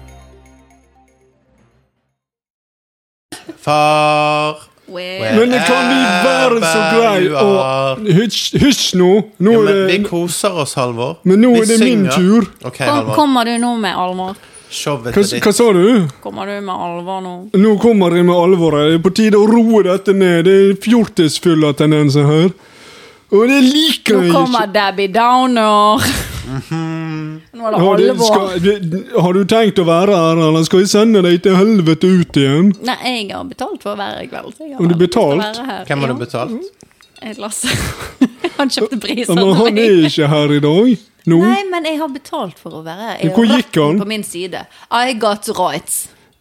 Speaker 5: Far
Speaker 6: Well.
Speaker 8: Men det kan vi
Speaker 5: eh,
Speaker 8: være så grei
Speaker 5: Wherever you are.
Speaker 8: og Hysj, hysj nå! Nå
Speaker 5: Ja,
Speaker 8: er
Speaker 5: eh, men
Speaker 8: det
Speaker 5: vi koser oss, Halvor.
Speaker 8: Men nå
Speaker 5: Vi
Speaker 8: er det min
Speaker 5: synger.
Speaker 8: tur.
Speaker 5: Ok,
Speaker 6: Kom,
Speaker 5: Halvor.
Speaker 6: kommer du nå med alvor?
Speaker 5: Showet
Speaker 8: Hva,
Speaker 5: til ditt.
Speaker 8: hva sa du?
Speaker 6: Kommer du med alvor nå?
Speaker 8: Nå kommer jeg med alvoret. Det er på tide å roe dette ned. Det er fjortisfylla tendenser her. Og det liker
Speaker 6: Nå
Speaker 8: jeg ikke.
Speaker 6: kommer Debbie Downer. Nå er det
Speaker 8: Har, det,
Speaker 6: alvor.
Speaker 8: skal, det, har du tenkt å være her, eller skal jeg sende deg til helvete ut igjen?
Speaker 6: Nei, jeg har betalt for å være her i kveld. så jeg har
Speaker 8: Har du
Speaker 6: veldig lyst til å
Speaker 8: betalt?
Speaker 6: være her.
Speaker 5: Hvem har
Speaker 6: Ja,
Speaker 5: du
Speaker 8: Mm.
Speaker 5: betalt?
Speaker 6: jeg- Lasse. Han kjøpte priser
Speaker 8: Ja, Men
Speaker 6: til
Speaker 8: han
Speaker 6: meg.
Speaker 8: er ikke her i dag. Nå.
Speaker 6: Nei, men jeg har betalt for å være her. Jeg
Speaker 8: Hvor
Speaker 6: har
Speaker 8: gikk
Speaker 6: retten
Speaker 8: han?
Speaker 6: På min side. I got rights.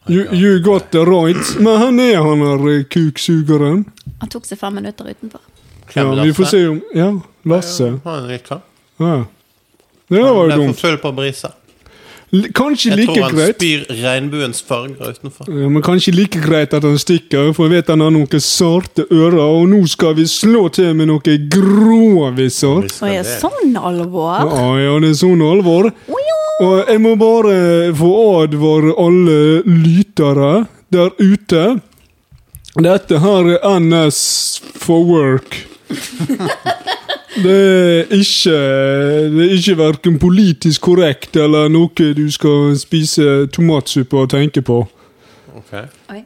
Speaker 8: You, you got the right. Men han er han her eh, kuksugeren.
Speaker 6: Han tok seg fem minutter utenfor.
Speaker 8: Ja,
Speaker 5: Hvem,
Speaker 8: vi får
Speaker 5: Lasse?
Speaker 8: se om Ja, Lasse.
Speaker 5: Han er litt klar.
Speaker 8: Ja. Det var
Speaker 5: Han
Speaker 8: jo
Speaker 5: er for
Speaker 8: dumt.
Speaker 5: full på brisa.
Speaker 8: L- Kanskje
Speaker 5: Jeg tror
Speaker 8: like
Speaker 5: han
Speaker 8: greit.
Speaker 5: spyr regnbuens farger utenfor.
Speaker 8: Ja, Eh, men kanskje like greit at han stikker, for jeg vet han har noen sarte ører, og nå skal vi slå til med noen gråviser.
Speaker 6: Og jeg er sånn alvor.
Speaker 8: Ja, ja, det er sånn alvor. Og jeg må bare få advare alle lytere der ute. Dette her er NS for work. Det er ikke Det er ikke verken politisk korrekt eller noe du skal spise tomatsuppe og tenke på.
Speaker 5: Ok.
Speaker 6: Oi.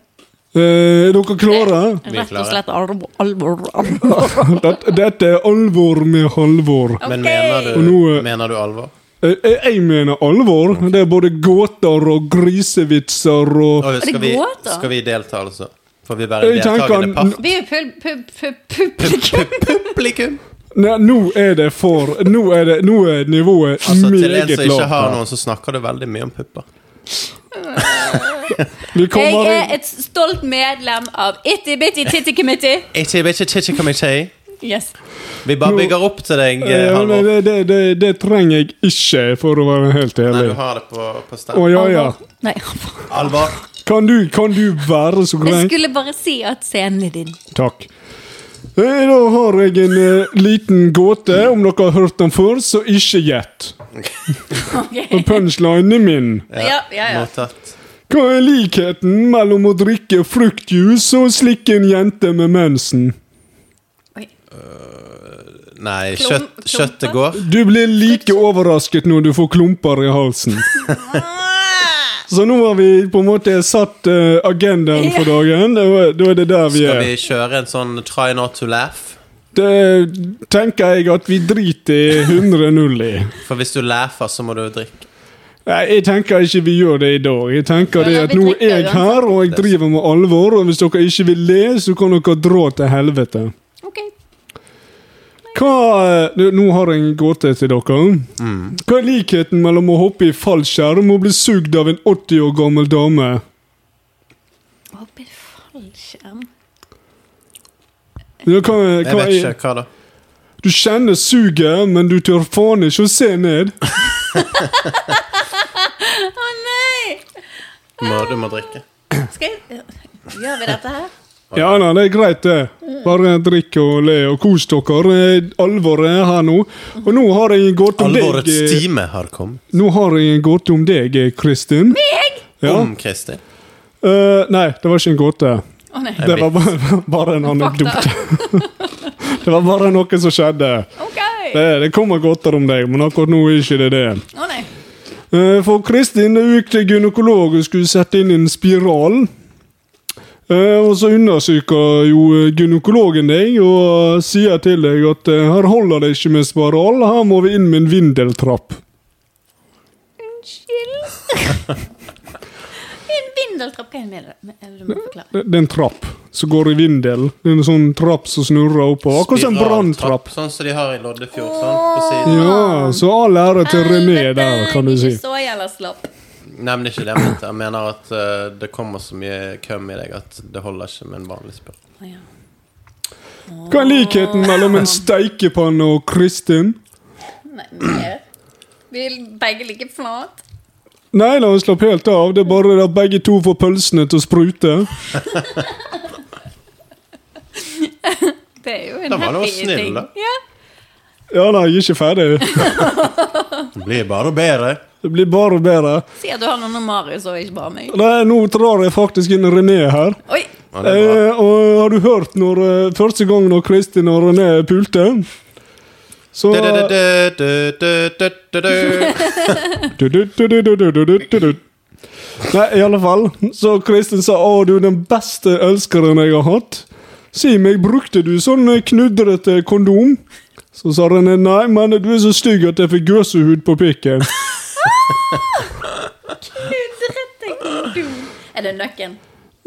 Speaker 8: Eh, er dere klare?
Speaker 6: Rett og slett alvor. alvor, alvor.
Speaker 8: Dette, dette er alvor med Halvor.
Speaker 5: Men mener
Speaker 8: Og nå,
Speaker 5: du,
Speaker 8: eh,
Speaker 5: mener du alvor?
Speaker 8: Eh, eh, Jeg mener alvor. Det er både gåter og grisevitser og
Speaker 5: Og skal, vi,
Speaker 6: gåter?
Speaker 5: skal vi delta, altså? Får vi være en
Speaker 8: Jeg tenker-
Speaker 5: deltakende part?
Speaker 6: Vi er jo pub... pub... pub... publikum.
Speaker 5: Publikum!
Speaker 8: Nei, nå er det for Nå er, det, nå er nivået
Speaker 5: Altså, til en
Speaker 8: meget
Speaker 5: som ikke har
Speaker 8: lavt.
Speaker 5: noen, så snakker du veldig mye om pupper.
Speaker 8: Vi
Speaker 6: Jeg
Speaker 8: kommer
Speaker 6: er
Speaker 8: inn
Speaker 6: et stolt medlem av Itty Bitty Titty Committee.
Speaker 5: Ikke, ikke, ikke, ikke, ikke.
Speaker 6: Yes.
Speaker 5: Vi bare bygger opp til deg, eh,
Speaker 8: ja,
Speaker 5: Halvor.
Speaker 8: nei, det, det, det, det trenger jeg ikke, for å være helt
Speaker 5: Nei, du
Speaker 8: ærlig.
Speaker 5: har det på, på
Speaker 8: Å
Speaker 5: stand.
Speaker 8: ja, ja.
Speaker 6: Nei,
Speaker 5: Alvor.
Speaker 8: Kan du, kan du være så
Speaker 6: jeg
Speaker 8: grei?
Speaker 6: skulle bare si at scenen er din.
Speaker 8: Takk. Eh, Da har jeg en eh, liten gåte. Om dere har hørt den før, så ikke gjett.
Speaker 6: Ok.
Speaker 8: Og punchlinen er min.
Speaker 6: Ja, ja, ja.
Speaker 5: Mottatt.
Speaker 8: Hva er likheten mellom å drikke fruktjuice og slikke en jente med mensen?
Speaker 6: Oi.
Speaker 5: Nei,
Speaker 6: Klum-
Speaker 5: kjøtt, kjøttet går.
Speaker 8: Du blir like overrasket når du får klumper i halsen. Så nå har vi på en måte satt eh, agendaen for dagen. Da er- Da er det der vi
Speaker 5: Skal
Speaker 8: er.
Speaker 5: vi kjøre en sånn try not to laugh?
Speaker 8: Det tenker jeg at vi driter i 100-0 i.
Speaker 5: For hvis du laugher, så må du drikke.
Speaker 8: Nei, jeg tenker ikke vi gjør det i dag. Jeg tenker det
Speaker 6: Ja,
Speaker 8: at
Speaker 6: vi
Speaker 8: Nå
Speaker 6: drikker
Speaker 8: er jeg her, og jeg driver med alvor. Og hvis dere ikke vil le, så kan dere dra til helvete.
Speaker 6: Ok.
Speaker 8: Hva eh, nå- Nå har jeg en gåte til dere. Hva er likheten mellom å hoppe i fallskjerm og bli sugd av en 80 år gammel dame?
Speaker 6: Hopp i fallskjerm.
Speaker 8: Ja, hva,
Speaker 5: Jeg
Speaker 8: hva
Speaker 5: vet
Speaker 8: er,
Speaker 5: ikke hva da.
Speaker 8: du kjenner suget, men du tør faen ikke å se ned.
Speaker 6: Å nei!
Speaker 5: Må, du må drikke.
Speaker 6: Skal jeg... Gjør vi dette her?
Speaker 8: Ja, nei, det er greit, det. Bare drikk og le og kos dere. Eh, Alvoret er her nå. Og nå har jeg en gåte om deg.
Speaker 5: Alvorets
Speaker 8: eh,
Speaker 5: time har kommet.
Speaker 8: Nå har jeg en gåte om deg, eh, Kristin. Meg? Ja.
Speaker 5: Om Kristin.
Speaker 8: Eh, nei, det var ikke en gåte.
Speaker 6: Å nei.
Speaker 8: Det var bare, bare en anekdote. det var bare noe som skjedde.
Speaker 6: Ok. Å
Speaker 8: Det, det kommer gåter om deg, men akkurat nå er ikke det det.
Speaker 6: nei.
Speaker 8: Eh, for Kristin gikk til gynekolog og skulle sette inn en spiral. Eh, og så undersøker jo gynekologen deg og sier til deg at eh, her holder det ikke med spiral, her må vi inn med en vindeltrapp.
Speaker 6: Unnskyld. En vindeltrapp, hva er det med det? Eller Du må forklare.
Speaker 8: Det det er en trapp som går i vindel. Det er en sånn trapp som snurrer oppover. Akkurat som en branntrapp.
Speaker 5: Sånn som de har i Loddefjord. Sånn, på siden.
Speaker 8: Ja, så all ære til René der, kan du si.
Speaker 6: Eh, Ikke så jævla slapp.
Speaker 5: Nei, men det er ikke det jeg mente. Jeg mener at eh, det kommer så mye køm i deg at det holder ikke med en vanlig spør.
Speaker 6: Å, ja.
Speaker 8: Hva er likheten mellom en steikepanne og Kristin?
Speaker 6: Nei, mer. Vi er begge like flat.
Speaker 8: Nei, la oss slappe helt av. Det er bare at begge to får pølsene til å sprute.
Speaker 6: Det er jo en
Speaker 5: Da var det jo
Speaker 6: happy
Speaker 5: snill,
Speaker 6: ting.
Speaker 5: da.
Speaker 6: Ja.
Speaker 8: Ja da, jeg er ikke ferdig.
Speaker 5: Det blir bare bedre.
Speaker 8: Det blir bare og bedre.
Speaker 6: Si at du har noen av Marius og ikke bare meg.
Speaker 8: Nei, nå drar jeg faktisk inn René her.
Speaker 6: Oi!
Speaker 5: Ja, det er bra.
Speaker 8: Eh, og har du hørt når eh, første gang når Kristin og René pulte? Så
Speaker 5: Du-du-du-du-du-du-du.
Speaker 8: Du-du-du-du-du-du-du-du-du. Nei, i alle fall. Så Kristin sa å, du er den beste elskeren jeg har hatt. Si meg, brukte du sånn knudrete kondom? Så sa René nei, men du er så stygg at jeg fikk gåsehud på pikken.
Speaker 6: Knudrete kondom. Er det nøkken?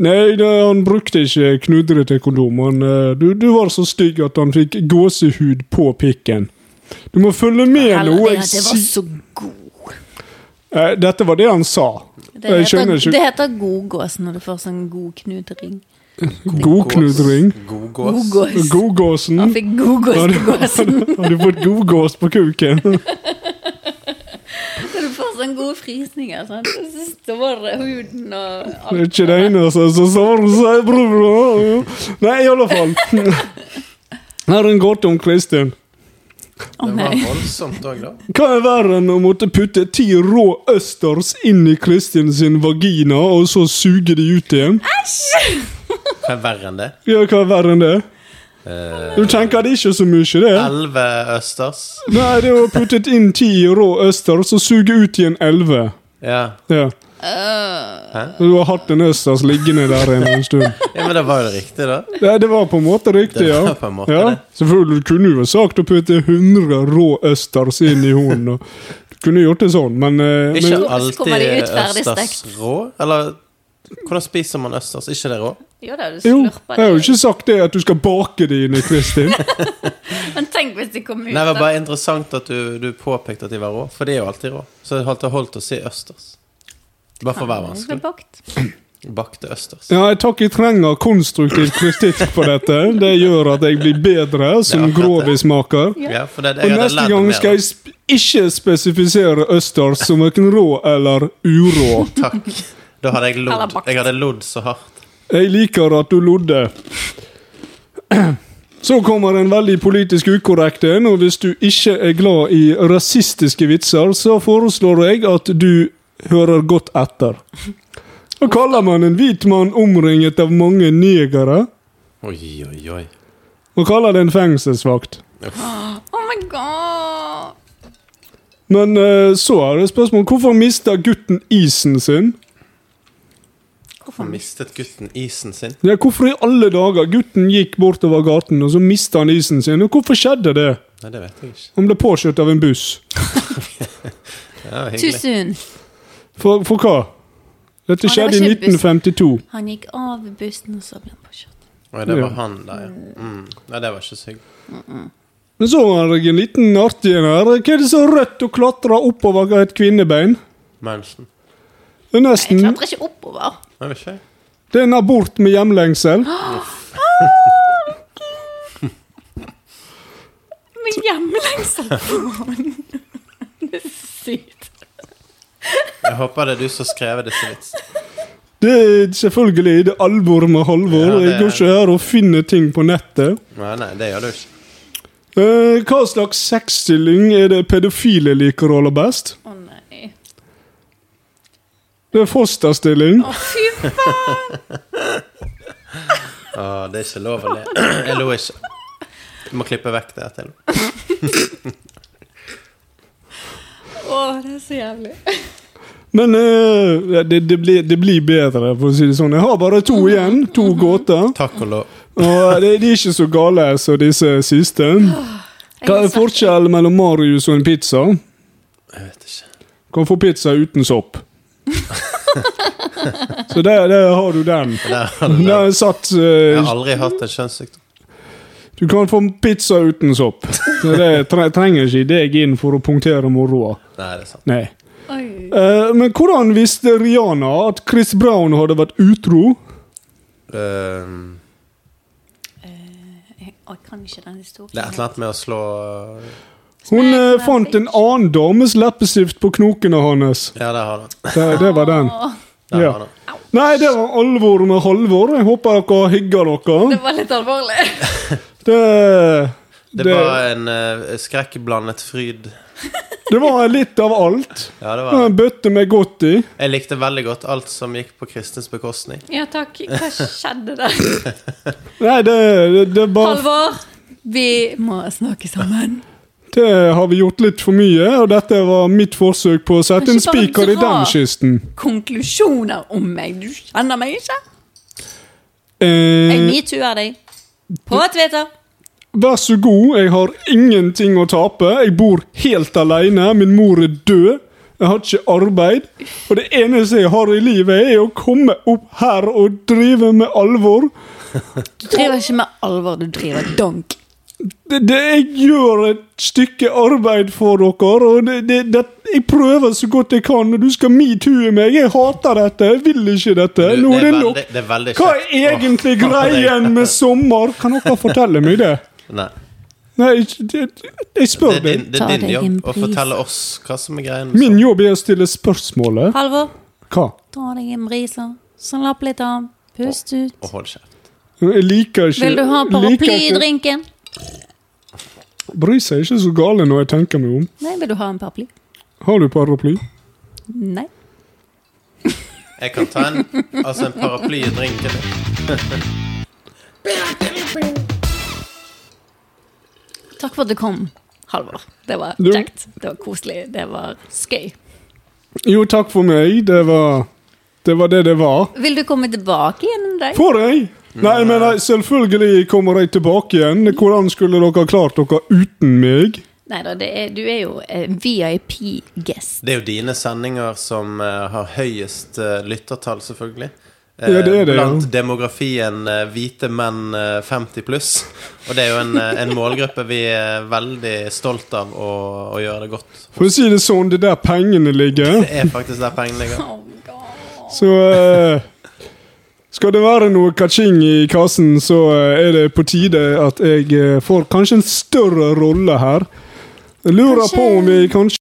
Speaker 8: Nei, det, han brukte ikke knudrete kondom. Han, eh, du, du var så stygg at han fikk gåsehud på pikken. Du må følge med nå.
Speaker 6: Helvete,
Speaker 8: Jeg
Speaker 6: det var
Speaker 8: si
Speaker 6: så god.
Speaker 8: Eh, Dette var det han sa.
Speaker 6: Det
Speaker 8: jeg skjønner
Speaker 6: heter,
Speaker 8: ikke
Speaker 6: det heter godgås når du får sånn god knudring.
Speaker 8: Godknudring.
Speaker 5: God gås.
Speaker 6: Godgås.
Speaker 8: Godgåsen.
Speaker 6: Han fikk godgås
Speaker 8: Har
Speaker 6: på gåsen.
Speaker 8: du, har du fått godgås på kuken?
Speaker 6: Så du får sånn gode frysninger. Sant? Og Så står det huden og
Speaker 8: Det er
Speaker 6: alt.
Speaker 8: ikke altså. det eneste som står seg, bror. Nei, i alle fall. Her er en gåte om Kristin.
Speaker 6: Å
Speaker 5: Det
Speaker 6: nei.
Speaker 5: var voldsomt òg, da.
Speaker 8: Hva er verre enn å måtte putte ti rå østers inn i Kristin sin vagina, og så suge de ut igjen?
Speaker 5: Hva er verre enn det?
Speaker 8: Ja, hva er verre enn det? Du tenker det er ikke så mye, det?
Speaker 5: Elleve østers.
Speaker 8: Nei, det er å putte inn ti rå østers og suge ut igjen elleve.
Speaker 5: Ja.
Speaker 8: Ja. Du har hatt en østers liggende der en en stund.
Speaker 5: ja, men det var jo det riktige, da.
Speaker 8: Ja, det var på en måte riktig,
Speaker 5: Det var
Speaker 8: ja.
Speaker 5: på en måte
Speaker 8: ja.
Speaker 5: det.
Speaker 8: Selvfølgelig du kunne jo sagt å putte 100 rå østers inn i hornet. Kunne gjort det sånn, men, eh,
Speaker 5: Det er
Speaker 8: men
Speaker 5: ikke
Speaker 6: Men- Så kommer de
Speaker 5: alltid
Speaker 6: ut ferdigstekt.
Speaker 5: østers rå? Eller hvordan spiser man østers? Ikke det rå?
Speaker 6: Jo da, du
Speaker 8: Jo,
Speaker 6: slurper
Speaker 8: jeg har jo
Speaker 6: det.
Speaker 8: ikke sagt det at du skal bake det inn i Kristin.
Speaker 6: Men tenk hvis de kom
Speaker 5: Nei,
Speaker 6: ut
Speaker 5: det var
Speaker 6: da.
Speaker 5: bare interessant at du, du påpekte at de var rå, for de er jo alltid rå. Så det holdt, det holdt å si østers. Bare for å være
Speaker 6: Det ble
Speaker 5: vanskelig.
Speaker 6: bakt.
Speaker 5: Bakte østers.
Speaker 8: Ja, jeg takk jeg trenger konstruktiv kritikk på dette. Det gjør at jeg blir bedre som
Speaker 5: Det er akkurat det.
Speaker 8: grovismaker.
Speaker 5: Ja, for det,
Speaker 8: Og
Speaker 5: jeg hadde
Speaker 8: neste
Speaker 5: lært
Speaker 8: gang
Speaker 5: mer.
Speaker 8: skal jeg sp ikke spesifisere østers som verken rå eller urå.
Speaker 5: Takk. Da hadde jeg
Speaker 6: Eller
Speaker 5: lodd.
Speaker 6: bakt.
Speaker 5: Jeg hadde lodd så hardt.
Speaker 8: Jeg liker at du lodde. Så kommer en veldig politisk ukorrekt en, og hvis du ikke er glad i rasistiske vitser, så foreslår jeg at du hører godt etter. Og kaller man en hvit mann omringet av mange negere,
Speaker 5: Oi, oi, oi.
Speaker 8: og kaller det en fengselsvakt.
Speaker 6: Oh my god!
Speaker 8: Men eh, så er det spørsmål hvorfor mister gutten isen sin?
Speaker 5: Hvorfor mistet gutten isen sin?
Speaker 8: Ja, hvorfor i alle dager? Gutten gikk bortover gaten, og så mista han isen sin. Og hvorfor skjedde det?
Speaker 5: Nei, det vet jeg ikke.
Speaker 8: Han ble påkjørt av en buss.
Speaker 5: Ja,
Speaker 6: Too
Speaker 5: hyggelig.
Speaker 6: soon.
Speaker 8: For, for hva?
Speaker 6: Ah,
Speaker 8: Dette
Speaker 6: det var
Speaker 8: skjedde i
Speaker 6: ikke buss.
Speaker 8: 1952.
Speaker 6: Han gikk av bussen, og så ble han påkjørt.
Speaker 5: Oi, det
Speaker 8: Ja.
Speaker 5: var han der, ja. Mm. Nei, det var ikke så hyggelig.
Speaker 8: Men så har jeg en liten artig en her. Hva er det så rødt og klatrer oppover et kvinnebein?
Speaker 5: Mensen.
Speaker 8: Det er
Speaker 6: Jeg
Speaker 8: nesten
Speaker 6: klatrer ikke oppover.
Speaker 5: Nei, vet ikke jeg.
Speaker 8: Det er en abort med hjemlengsel.
Speaker 6: Med hjemlengsel på hånden. Det er sykt.
Speaker 5: Jeg håper det er du som skrev disse vitsene.
Speaker 8: Det er selvfølgelig det er alvor med
Speaker 5: Ja,
Speaker 8: halvor.
Speaker 5: det
Speaker 8: Jeg
Speaker 5: er-
Speaker 8: går ikke her og finner ting på nettet.
Speaker 5: Nei, nei, det gjør du ikke.
Speaker 8: Eh, hva slags sexstilling er det pedofile liker aller best?
Speaker 6: Å nei.
Speaker 8: Det er fosterstilling.
Speaker 6: Å, fy faen!
Speaker 5: Å, det er ikke lov å le. Jeg lo ikke. Du må klippe vekk det til.
Speaker 6: Å, det er så jævlig.
Speaker 8: Men eh, det, det, blir, det blir bedre, for å si det sånn. Jeg har bare to igjen. To gåter.
Speaker 5: Takk og lov.
Speaker 8: Og det, de er ikke så gale som disse siste. Hva er forskjellen mellom Marius og en pizza?
Speaker 5: Jeg vet ikke.
Speaker 8: Kan få pizza uten sopp. så der, der har du den.
Speaker 5: Der har du det.
Speaker 8: Der satt
Speaker 5: Jeg har
Speaker 8: eh,
Speaker 5: aldri hatt en kjønnssykdom.
Speaker 8: Du kan få pizza uten sopp. Så det tre, trenger ikke deg inn for å punktere moroa.
Speaker 5: Nei, det er sant.
Speaker 8: Nei.
Speaker 6: Oi.
Speaker 8: Eh, men hvordan visste Rihanna at Chris Brown hadde vært utro?
Speaker 5: Ehm,
Speaker 6: Jeg, å, jeg kan ikke den historien.
Speaker 5: det er et eller annet med å slå
Speaker 8: Hun eh, fant en annen dames leppestift på knokene hans.
Speaker 5: Ja, der har du den.
Speaker 8: Det, det var den.
Speaker 5: Der
Speaker 8: Ja.
Speaker 5: har du den.
Speaker 8: Nei, det var alvor med halvor. Jeg håper dere hygger
Speaker 6: Det
Speaker 8: dere.
Speaker 6: var litt alvorlig.
Speaker 8: Det,
Speaker 5: Det
Speaker 8: det,
Speaker 5: var en eh, skrekkblandet fryd.
Speaker 8: det var litt av alt.
Speaker 5: Ja, det
Speaker 8: Det
Speaker 5: var
Speaker 8: var
Speaker 5: det.
Speaker 8: En bøtte med godt i.
Speaker 5: Jeg likte veldig godt alt som gikk på Kristins bekostning.
Speaker 6: Ja takk. Hva skjedde der?
Speaker 8: Nei, det, det, det bare
Speaker 6: Halvor, vi må snakke sammen.
Speaker 8: Det har vi gjort litt for mye, og dette var mitt forsøk på å sette en
Speaker 6: Kanskje bare
Speaker 8: spiker i
Speaker 6: dra.
Speaker 8: den kisten.
Speaker 6: Konklusjoner om meg. Du kjenner meg ikke. Jeg
Speaker 8: Eh,
Speaker 6: metoo-er deg. På Twitter.
Speaker 8: vær så god, jeg har ingenting å tape. Jeg bor helt aleine, min mor er død. Jeg har ikke arbeid, og det eneste jeg har i livet, er å komme opp her og drive med alvor.
Speaker 6: Du driver ikke med alvor, du driver donk.
Speaker 8: det, det, jeg gjør et stykke arbeid for dere, og det, det, det, jeg prøver så godt jeg kan, og du skal metoo meg. Jeg hater dette, jeg vil ikke dette.
Speaker 5: Du,
Speaker 8: Nå
Speaker 5: det
Speaker 8: er
Speaker 5: er
Speaker 8: det
Speaker 5: veldig-
Speaker 8: nok.
Speaker 5: det er veldig
Speaker 8: Hva
Speaker 5: kjekt.
Speaker 8: er egentlig
Speaker 5: Åh,
Speaker 8: greien med sommer? Kan dere fortelle meg det?
Speaker 5: Nei.
Speaker 8: Nei, ikke- det, det- jeg
Speaker 5: Det
Speaker 8: spør
Speaker 5: er din,
Speaker 8: deg.
Speaker 5: det
Speaker 6: Ta
Speaker 5: er din
Speaker 6: deg en
Speaker 5: jobb å
Speaker 6: pris.
Speaker 5: fortelle oss hva som er greien. med
Speaker 8: Min
Speaker 5: sånt.
Speaker 8: jobb er å stille spørsmålet.
Speaker 6: Halvor,
Speaker 8: Hva?
Speaker 6: dra deg en briser. Sånn lapp litt av. Pust
Speaker 5: Og
Speaker 6: ut.
Speaker 5: hold kjeft.
Speaker 8: Jeg liker ikke
Speaker 6: Vil du ha
Speaker 8: liker
Speaker 6: paraply i
Speaker 8: ikke-
Speaker 6: drinken?
Speaker 8: Bryr seg ikke så gale når jeg tenker meg om.
Speaker 6: Nei, vil du ha en paraply?
Speaker 8: Har du paraply?
Speaker 6: Nei.
Speaker 5: Jeg kan ta en, altså en paraply i drinken.
Speaker 6: Takk for at du kom, Halvor. Det var
Speaker 8: Du-
Speaker 6: kjekt. Det var koselig. Det var skøy.
Speaker 8: Jo, takk for meg. Det var det var. Det, det var.
Speaker 6: Vil du komme tilbake igjen en dag?
Speaker 8: Får jeg? Nei, men jeg- selvfølgelig kommer jeg tilbake igjen. Hvordan skulle dere klart dere uten meg?
Speaker 6: Nei da, du er jo eh, VIP-guest.
Speaker 5: Det er jo dine sendinger som eh, har høyest eh, lyttertall, selvfølgelig. Eh,
Speaker 8: Ja, det er det, ja.
Speaker 5: Blant demografien eh, hvite menn eh, 50 pluss. Og det er jo en, eh, en målgruppe vi er veldig stolt av å, å gjøre det godt.
Speaker 8: For å si det sånn, det er der pengene ligger.
Speaker 5: Det er faktisk der pengene ligger.
Speaker 6: Oh my god.
Speaker 8: Så eh, skal det være noe kaching i kassen, så eh, er det på tide at jeg eh, får kanskje en større rolle her. Jeg lurer
Speaker 6: Kanskje-
Speaker 8: på om vi